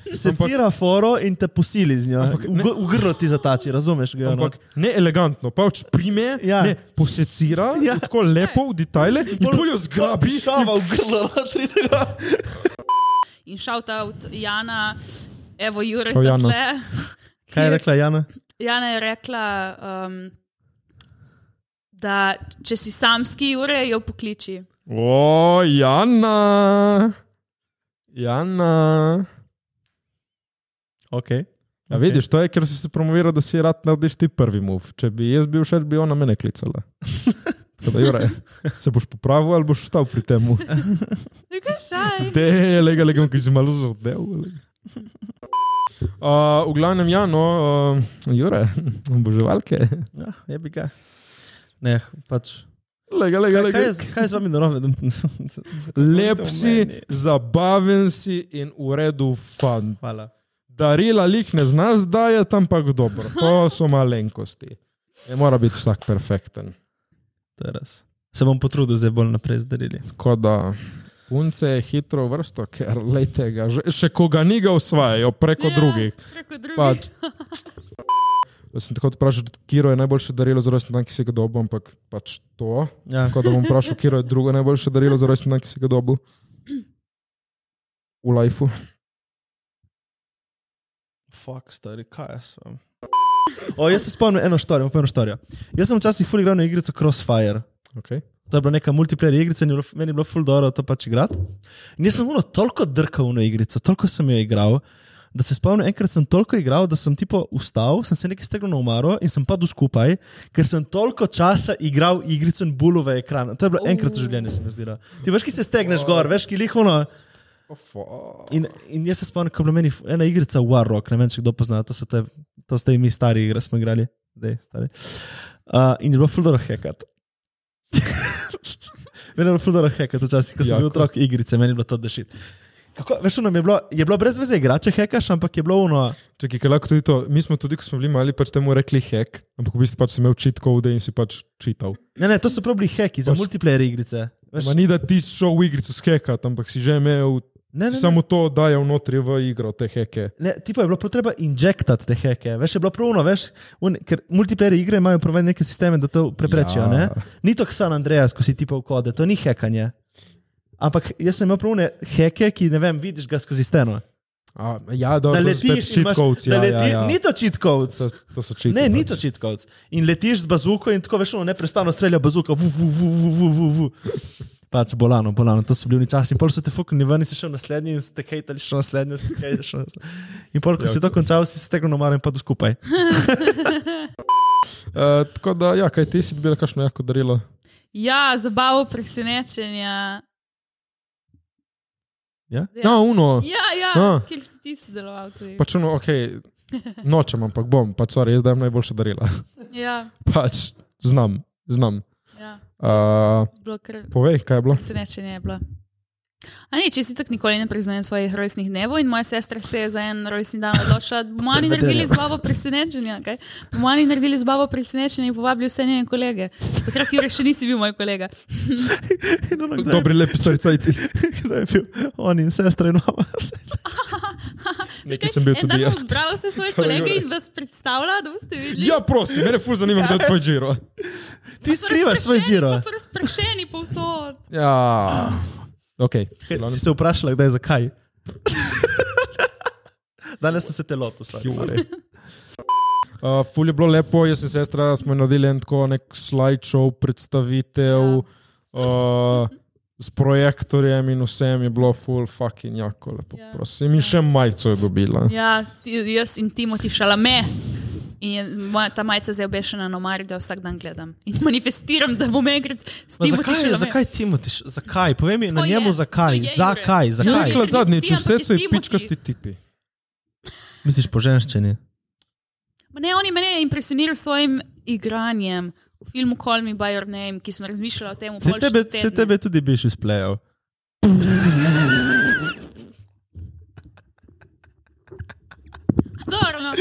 B: Secira foro in te posili z njo. V gr- V grlo ti zatači, razumeš? Ga, no. ono.
C: Ampak ne elegantno, pač prime,
B: Ja.
C: no. ja. ne, posecira, ja. tako lepo v detajle, in bolj jo zgrabi.
B: Šava v grlo, tri tega.
D: In shout-out Jana, evo Jurek,
C: Čau, Jana.
D: tle.
B: Kaj je rekla Jana?
D: Jana je rekla, um, da če si samski ure, jo pokliči.
C: O, Jana. Jana.
B: Okay.
C: Ja, vidiš, to je, ker si se promovira, da si rad narediš ti prvi mov. Če bi jaz bil šel, bi ona mene klicala. Tako da, Jure, se boš popravil ali boš ostal pri tem?
D: Kaj šaj?
C: Te, lega, lega, ki si malo zadev. lega. Uh, v glavnem, ja, no, uh, Jure, oboževalke.
B: Ja, je bi ga. Ne, pač.
C: Lega, lega,
B: Kaj,
C: lega.
B: kaj, je, z- kaj je z vami narobe?
C: Lep si,
B: meni.
C: zabaven si in v redu, fan.
B: Hvala.
C: Darila lih ne znaš, da je tam pa dobro. To so malenkosti. Ne mora biti vsak perfekten.
B: To je res. Se bom potrudil, zdaj bolj naprej zdarili.
C: Tako da punce je hitro v vrsto, ker lejte ga, že- še koga ni ga usvajajo preko ja. drugih.
D: Preko drugih.
C: Pač. Sem tako vprašal, kje je najboljše darilo za rojsten dan, ki si ga dobil, ampak pač to.
B: Ja.
C: Tako da bom vprašal, kje je drugo najboljše darilo za rojsten dan, ki si ga dobil v lifeu.
B: Fak, stari, kaj jaz sem. O, jaz se spomnim eno štorijo, imam pa eno štorijo. Jaz sem včasih ful igral na igrico Crossfire.
C: Okay.
B: To je bila neka multiplayer igrica in je bilo, meni je bilo ful dobro to pač igrati. In jaz sem ono toliko drkal na igrico, toliko sem jo igral, da se spomnim, enkrat sem toliko igral, da sem tipo vstal, sem se nekaj stegnil na omaro in sem padel skupaj, ker sem toliko časa igral igrico in bulove ekran. To je bilo enkrat v življenju, se mi zdi. da. Ti veš, ki se stegneš gor, veš, ki lihono. Oh, In, in jaz se spomnim, ko je bila meni f- ena igrica War Rock, ne vem, če kdo pozna, to so te, to ste mi stari igre, smo igrali, zdaj stari. Uh, in je bilo fuldoro hekat. meni je bilo fuldoro hekat, včasih, ko sem
C: Jako.
B: bil otrok igrice, meni je bilo to dešit. Kako, veš, ono, mi je, bilo, je bilo brez veze igrati, če hekaš, ampak je bilo ono.
C: Če ki lahko tudi to, mi smo tudi, ko smo bili mali, pač temu rekli hek, ampak v bistvu pač si imel cheat code in si pač čital.
B: Ne, ne, to so prav bili heki za
C: Pač-
B: multiplayer igrice. Veš,
C: Ma ni da ti šel v igrico skekati, ampak si že imel
B: Ne, ne,
C: Samo to dajo notri v igro, te heke.
B: Ne, tipo je bilo prav treba injektati te heke, veš, je bilo pravno, veš, un, ker multiplayer igre imajo prav neke sisteme, da to preprečijo.
C: Ja.
B: Ja. Ni to San Andreas, ko si ti pa v kode, to ni hekanje. Ampak jaz sem imel pravne heke, ki ne vem, vidiš ga skozi steno.
C: A, ja,
B: Da
C: dobro, to so spet
B: letiš, in imaš,
C: cheatcodes,
B: da
C: ja,
B: leti,
C: ja, ja.
B: ni to čitkovc.
C: To, to so cheati.
B: Ne, ni
D: pač.
B: to čitkovc. In letiš z bazuko in tako veš, ono neprestano strelja bazuka. Vu, vu, vu, vu, vu, vu, vu. Pač bolano, bolano, to so bili časi. In pol so te fuknili ven, in si šel naslednji, in si te hejtali, šel naslednji, in si te hejtali, šel naslednji. In pol, ko
D: Ja,
B: si to končal, si se tega nomaren pa do skupaj.
C: Uh, tako da, ja, kaj ti si dobil, kakšno jako darilo?
D: Ja, zabavo, presenečenja.
B: Ja?
C: Ja,
D: Ja,
C: uno.
D: ja, ja
C: A.
D: kjer si ti sodeloval tudi.
C: Pač ono, ok, nočem, ampak bom, pač sorry, jaz dajem najboljše darila.
D: Ja,
C: Pač znam, znam.
D: ja,
C: Uh,
D: bilo kar
C: povej, kaj je bilo.
D: presenečenje je bilo. A ne, če si tako nikoli ne priznajem svojih rojstnih dnevov in moja sestra se je za en rojstni dan odločila, da bomo oni naredili zabavo presenečenja. kaj? Bomo oni naredili zabavo presenečenja in povabili vse njene kolege. Takrat Jure še nisi bil moj kolega. No,
B: In ono, kdo,
C: Dobri, lepi starcajti.
B: je- kdo je bil? On in sestra in mama.
C: Nekaj sem bil
D: En dan
C: tudi
D: bom
C: jaz.
D: Zbral vse svoje
C: Tako,
D: kolege
C: Jure.
D: in vas predstavljal, da boste videli.
C: Ja, prosim, mene fuz zanima, kdo je tvoj žiro.
B: Ti skrivaš svoj žiro.
D: Pa so razpršeni povsod.
C: Ja. Ok.
B: Kaj, Si se vprašala, kdaj zakaj? Danes sem se te lotil, sorry, Mari.
C: Uh, ful je bilo lepo, jaz in sestra smo naredili en tako nek slideshow, predstavitev uh, s projektorjem in vsem je bilo ful fucking jako lepo.
D: Ja.
C: Prosim, in še majico je dobila.
D: Ja, ti, jaz in Timoti šalame. In je, moja, ta majica zdaj obešena na omari, da jo vsak dan gledam. In manifestiram, da bom enkrat s
B: Ma
D: tem
B: Zakaj, je- zakaj Timotiš? Zakaj? Povej mi na
D: To je,
B: njemu,
D: to je,
B: zakaj?
D: Jure.
B: Zakaj?
D: Ja,
C: Je
B: zakaj?
C: rekla
D: Kristi,
C: zadnjič,
D: ampak
C: vse
D: je
C: so ji
D: Timothy.
C: pičkasti tipi.
B: Misliš po ženščini?
D: Ne, on je mene impresioniral s svojim igranjem. V filmu Call Me By Your Name, ki sem razmišljala o tem,
B: Se
D: kako
B: tebe, se tebe tudi biš izplejal.
D: Dobro, no.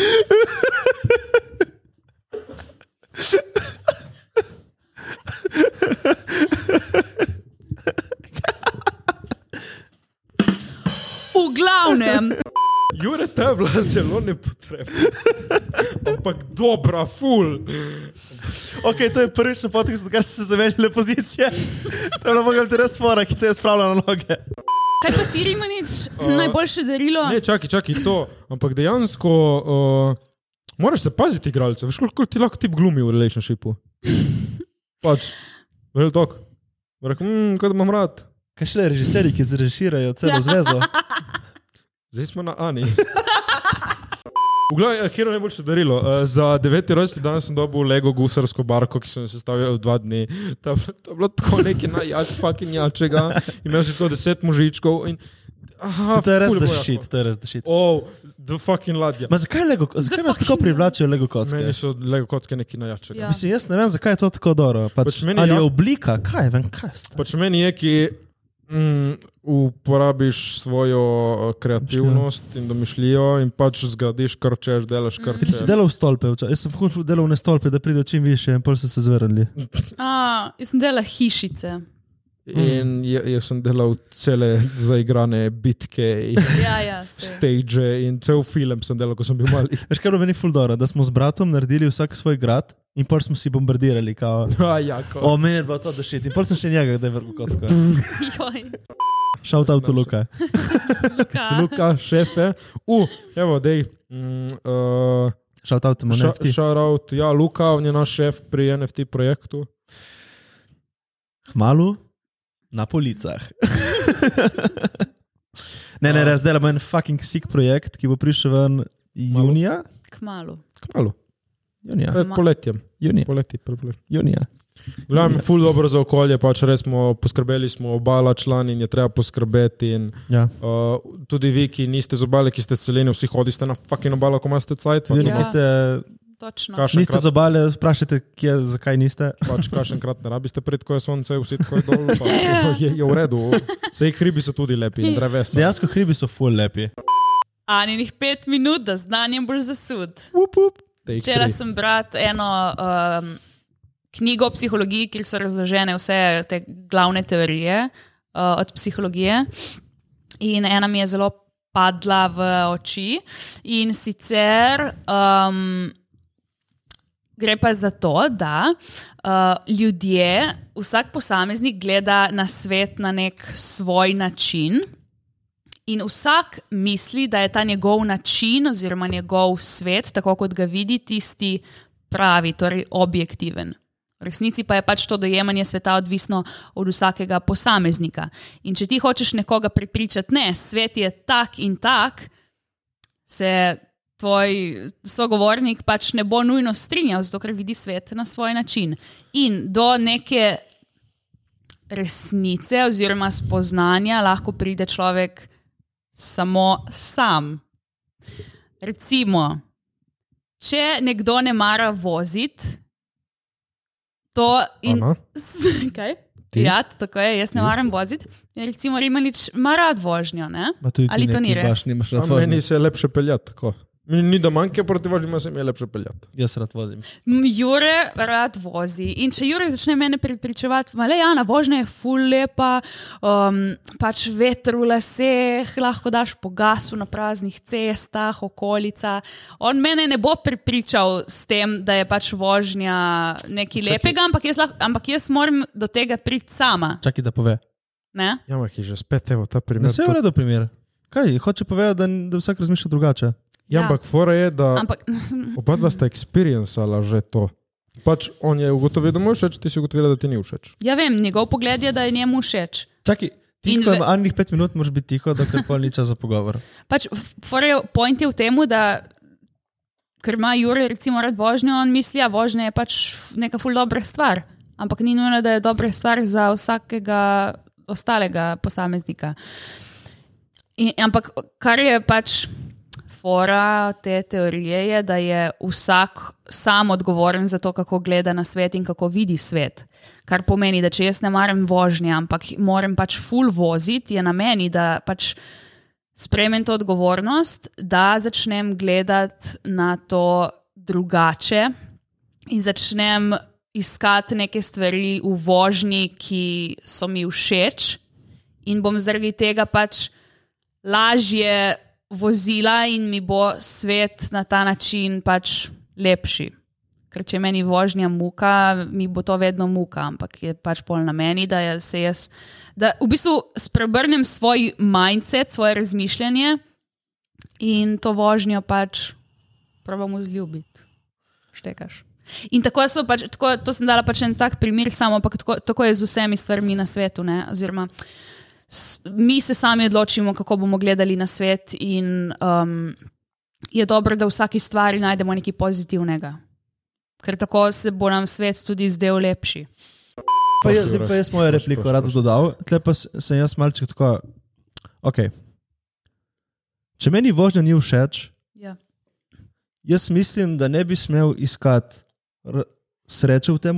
D: V glavnem,
C: Jure, ta je bila zelo nepotrebna. Ampak dobra, ful.
B: Ok, to je prvič na podkastu, odkar so se zamenjale pozicije. To je bilo mogoče res fora, ki te je spravila na noge.
D: kaj pa ti rimanič, najboljše darilo?
C: Ne, čakaj, čakaj to. Ampak dejansko uh, moraš se paziti, igralce. Veš, koliko ti lahko ti glumi v relationshipu. Pač, verjel tok. Rekel, mmm, kot imam rad.
B: Kaj šele režiserji, ki zreširajo celo zvezo?
C: Zdaj smo na Ani. V glavnem, kjer je najboljše darilo. Uh, za deveti rojstni dan sem dobil Lego gusarsko barko, ki sem jo sestavil dva dni. To, je bilo- to je bilo tako nekaj najjač, fucking jačega. Imel si to deset možičkov in... Aha,
B: To je res
C: ful bilo
B: dešit,
C: jako.
B: to je res dešit.
C: Oh, the fucking ladja.
B: Ma zakaj, Lego, zakaj nas tako privlačijo Lego
C: Meni
B: kocke?
C: so Lego kocke nekaj najjačega.
D: Ja.
B: Mislim, jaz ne vem, zakaj je to tako dobro. Pač,
C: Pač meni
B: ali je
C: ja-
B: oblika, kaj vem, kaj je.
C: Pač meni je, ki mm, uporabiš svojo eh, kreativnost in domišljijo in pač zgradiš, kar češ, delaš, kar
B: Ker si
C: češ.
B: delal v stolpe, vča- jaz sem fucking delal na stolpe, da pridejo čim više, in pol so se zvrnili.
D: A, jaz sem delala hišice.
B: Mm.
C: In je- jaz sem delal cele zaigrane bitke, in
D: Ja, ja, se.
C: stage in cel film sem delal, ko sem bil mali.
B: Veš, kar je bilo meni fuldora, da smo z bratom naredili vsak svoj grad in pol smo si bombardirali. Kao.
C: Ja, jako.
B: O, meni je bilo to dešit in pol sem še njega, da je vrgo kocko.
D: Joj,
B: Shout out to Luka.
D: Luka.
C: Sluka, šefe. U, uh, evo, dej. Mm, uh,
B: Shout out to Monefti.
C: Šarovt, ja, Luka, on je naš šef pri NFT projektu.
B: Hmalu na policah. ne, ne, res delamo en fucking sick projekt, ki bo prišel ven junija. Ja.
D: Kmalo.
C: Kmalo,
B: Junija.
C: pred E, poletjem.
B: Junija.
C: Poleti, pred poletjem.
B: junija. Mm.
C: Glavno, ful dobro za okolje, pač res smo poskrbeli, smo obala član in je treba poskrbeti. In,
B: Ja.
C: uh, tudi vi, ki niste z obale, ki ste s celine, vsi hodite na fucking obalo, ko imate cajt.
B: Tudi,
C: Pač,
B: oni,
C: ono,
B: ki ste,
D: Točno.
C: kašen
B: niste
C: krat-
B: z obale, vprašajte, kje, zakaj niste.
C: Pač kašen krat ne rabite pred, ko je sonce, vsi tako je dol, pač, je, je v redu. Sej hribi so tudi lepi in drevesa.
B: Dejansko hribi so full lepi.
D: Aninih pet minut, da znanjem boš zasud.
C: Take three.
D: Včeraj sem bral eno um, knjigo o psihologiji, kjer so razložene vse te glavne teorije uh, od psihologije. in ena mi je zelo padla v oči. In sicer um, gre pa za to, da uh, ljudje, vsak posameznik gleda na svet na nek svoj način. In vsak misli, da je ta njegov način oziroma njegov svet, tako kot ga vidi, tisti pravi, torej objektiven. V resnici pa je pač to dojemanje sveta odvisno od vsakega posameznika. In če ti hočeš nekoga prepričati, ne, svet je tak in tak, se tvoj sogovornik pač ne bo nujno strinjal, zato ker vidi svet na svoj način. In do neke resnice oziroma spoznanja lahko pride človek samo sam. Recimo, če nekdo ne mara voziti, to in.
C: Ana?
D: S- Kaj? Ja, tako je, jaz ne maram voziti. In Recimo, Rimanič ima rad vožnjo. Ne?
B: Ma tudi ti
D: Ali to
B: neki
D: ni res?
B: Baš nimaš rad
C: A Meni
B: vožnje.
C: se je lepše peljati tako. Ni, ni da manjke proti vožnji, se mi je lepše peljati.
B: Jaz rad vozim.
D: M, Jure rad vozi. In če Jure začne mene pripričevati, da je Jana vožnja je ful lepa, um, pač veter v laseh, lahko daš po gasu na praznih cestah, okolica. On mene ne bo pripričal s tem, da je pač vožnja nekaj lepega, ampak jaz, lahko, ampak jaz moram do tega priti sama.
B: Čakaj, da pove.
D: Ne?
C: Ja, ampak je že spet evo ta
B: Ne,
C: primer.
B: vse je v redu primer. Kaj, hoče povedati, da, da vsak razmišlja drugače.
C: Ja, ampak fora je, da
D: Ampak
C: oba dva sta experiencala že to. Pač on je ugotovil, da mu je všeč, ti si ugotovila, da ti ni všeč.
D: ja vem, njegov pogled je, da je njemu všeč.
B: Čakaj, ti
D: In
B: ko
D: ve-
B: imaš enih pet minut, moraš biti tiho, dokler pol ni čas za pogovor.
D: Pač, forejo, point je v tem, da ker ima Jure recimo rad vožnjo, on misli, da vožnja je pač neka ful dobra stvar. Ampak ni nujno, da je dobra stvar za vsakega ostalega posameznika. In, ampak kar je pač fora te teorije, je, da je vsak sam odgovoren za to, kako gleda na svet in kako vidi svet. Kar pomeni, da če jaz ne maram vožnje, ampak moram pač full voziti, je na meni, da pač sprejmem to odgovornost, da začnem gledati na to drugače in začnem iskati neke stvari v vožnji, ki so mi všeč, in bom zaradi tega pač lažje vozila in mi bo svet na ta način pač lepši. Ker če je meni vožnja muka, mi bo to vedno muka, ampak je pač pol na meni, da je- se jaz, da v bistvu spremenim svoj mindset, svoje razmišljanje in to vožnjo pač pravim vzljubiti. Štekaš. In tako, so pač, tako to sem dala pač en tak primer, samo ampak tako, tako je z vsemi stvarmi na svetu. Ne? Oziroma, s, mi se sami odločimo, kako bomo gledali na svet, in um, je dobro, da v vsaki stvari najdemo nekaj pozitivnega. Ker tako se bo nam svet tudi zdel lepši.
B: Pa jaz,
C: Prosim,
B: zdaj pa jaz mojo
C: Prosim,
B: repliko
C: prosim,
B: rad
C: prosim.
B: dodal, tle pa s- sem jaz malček tako. Okay. Če meni vožnja ni všeč,
D: Ja.
B: jaz mislim, da ne bi smel iskati r- sreče v tem,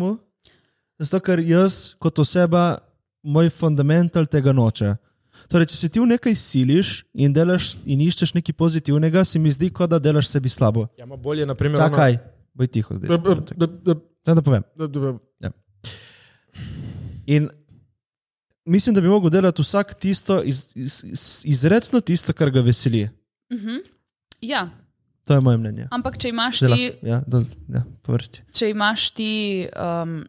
B: zato ker jaz kot oseba, moj fundamental tega noče. Torej, če se ti v nekaj siliš in, delaš, in iščeš nekaj pozitivnega, se mi zdi, kot da delaš sebi slabo.
C: Ja, ma bolje, na primer.
B: Čakaj, boj tiho zdaj. trenutek. Daj, da povem. In mislim, da bi lahko delal vsak tisto, iz, iz, iz, izredno tisto, kar ga veseli.
D: Mhm. ja,
B: To je moje mnenje.
D: ampak če imaš
B: Zdaj
D: ti
B: lahko- Ja, da, ja, po vrsti.
D: če imaš ti um,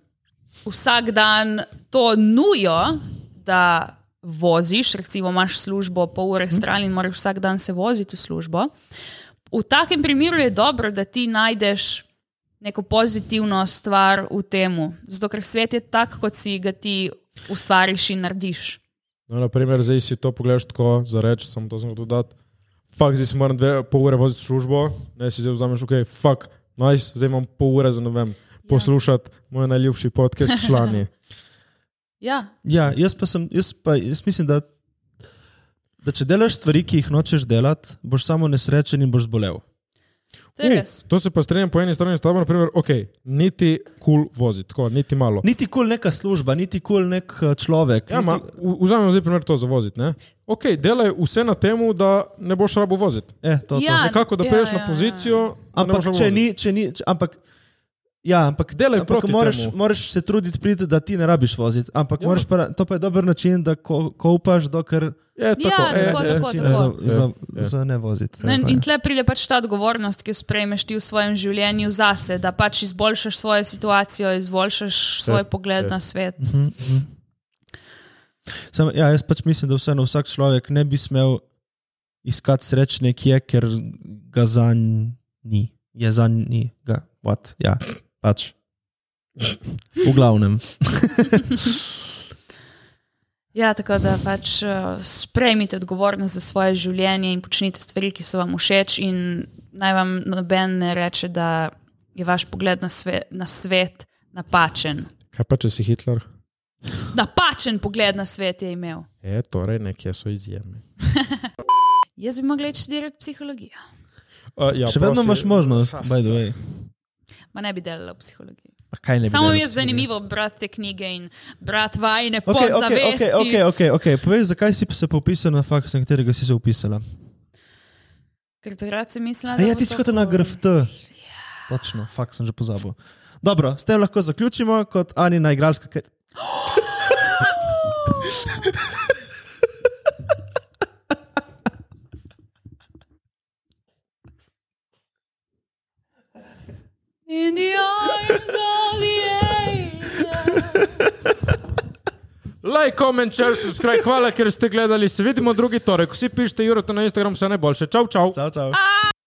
D: vsak dan to nujo, da voziš, recimo imaš službo pol ure stran in moraš vsak dan se voziti v službo. V takem primeru je dobro, da ti najdeš neko pozitivno stvar v tem, zato ker svet je tak, kot si ga ti ustvariš in narediš.
C: No, na primer, zdaj si to pogledaš tako, za reč, samo to sem dodal. Fak, zdaj si moram dve pol ure voziti v službo, ne si zdaj vzameš, ok, fak, nice, zdaj imam pol ure za ne vem, poslušati moj najljubši podcast člani.
D: Ja,
B: Ja, jaz pa sem, jaz pa jaz mislim, da, da če delaš stvari, ki jih nočeš delati, boš samo nesrečen in boš zbolel.
D: to je res.
C: to se pa strinjam po eni strani s tabo, na primer, ok, niti kul cool voziti, tako, niti malo.
B: Niti kul cool neka služba, niti kul cool nek eh, človek.
C: Ja,
B: niti-
C: ma, v- vzamem zdaj primer to za voziti, ne? Ok, delaj vse na temu, da ne boš rabo voziti.
B: eh, to, to.
D: Ja,
C: Nekako, da
D: ja,
C: prideš
D: ja,
C: na
D: ja.
C: pozicijo, da ne boš
B: Ampak,
C: rabo
B: če
C: voziti.
B: ni, če ni, če, ampak Ja, ampak
C: Delaj
B: ampak
C: proti
B: moraš,
C: temu.
B: moraš se truditi, priti, da ti ne rabiš voziti. Ampak ja. pa, to pa je dober način, da ko, kopaš, dokler
C: Je, tako, e,
D: Ja,
C: je,
D: tako,
C: je.
D: tako,
B: način
D: tako.
B: za, za,
C: Ja.
B: za ne voziti.
D: No, in, in tle pride pač ta odgovornost, ki jo sprejmeš ti v svojem življenju zase, da pač izboljšaš svojo situacijo, izboljšaš svoj pogled
C: ja.
D: na svet.
B: Sam, Mhm, ja, jaz pač mislim, da vseeno vsak človek ne bi smel iskati sreče nekje, ker ga za njim ni. Je za njim ni, ga, what, ja, pač.
C: Ja.
B: V glavnem.
D: Ja, tako da pač eh, sprejmite odgovornost za svoje življenje in počnite stvari, ki so vam všeč, in naj vam noben ne reče, da je vaš pogled na, sve, na svet napačen.
C: Kaj pa, če si Hitler?
D: Napačen pogled na svet je imel.
C: Je, torej nekje so izjeme.
D: Jaz bi mogla reči direkt psihologijo,
C: Uh, ja,
B: Ja, Še vedno
C: prosi-
B: imaš možnost,
C: Ha,
B: by the way.
D: ma ne bi delala v psihologiji.
B: Pa kaj ne bi
D: Samo
B: delal
D: mi je
B: s
D: zanimivo brati te knjige in brati vajne
B: tem? Ok, ok,
D: okay, podzavesti.
B: ok, ok, ok, okay. Povej, zakaj si se popisal na faks, na katerega si se upisala?
D: Ker takrat sem mislila,
B: A
D: da.
B: ja,
D: bo
B: ti
D: to
B: si kot na
D: cool.
B: GRFT. Točno, faks sem že pozabil. Dobro, s tem lahko zaključimo kot Anina igralska. Ker...
D: In the arms of the angel.
C: Like, comment, share, subscribe, hvala, ker ste gledali. Se vidimo drugi torek. Vsi pišite Juro na Instagram, vse najboljše. Čau, čau.
B: Čau, čau.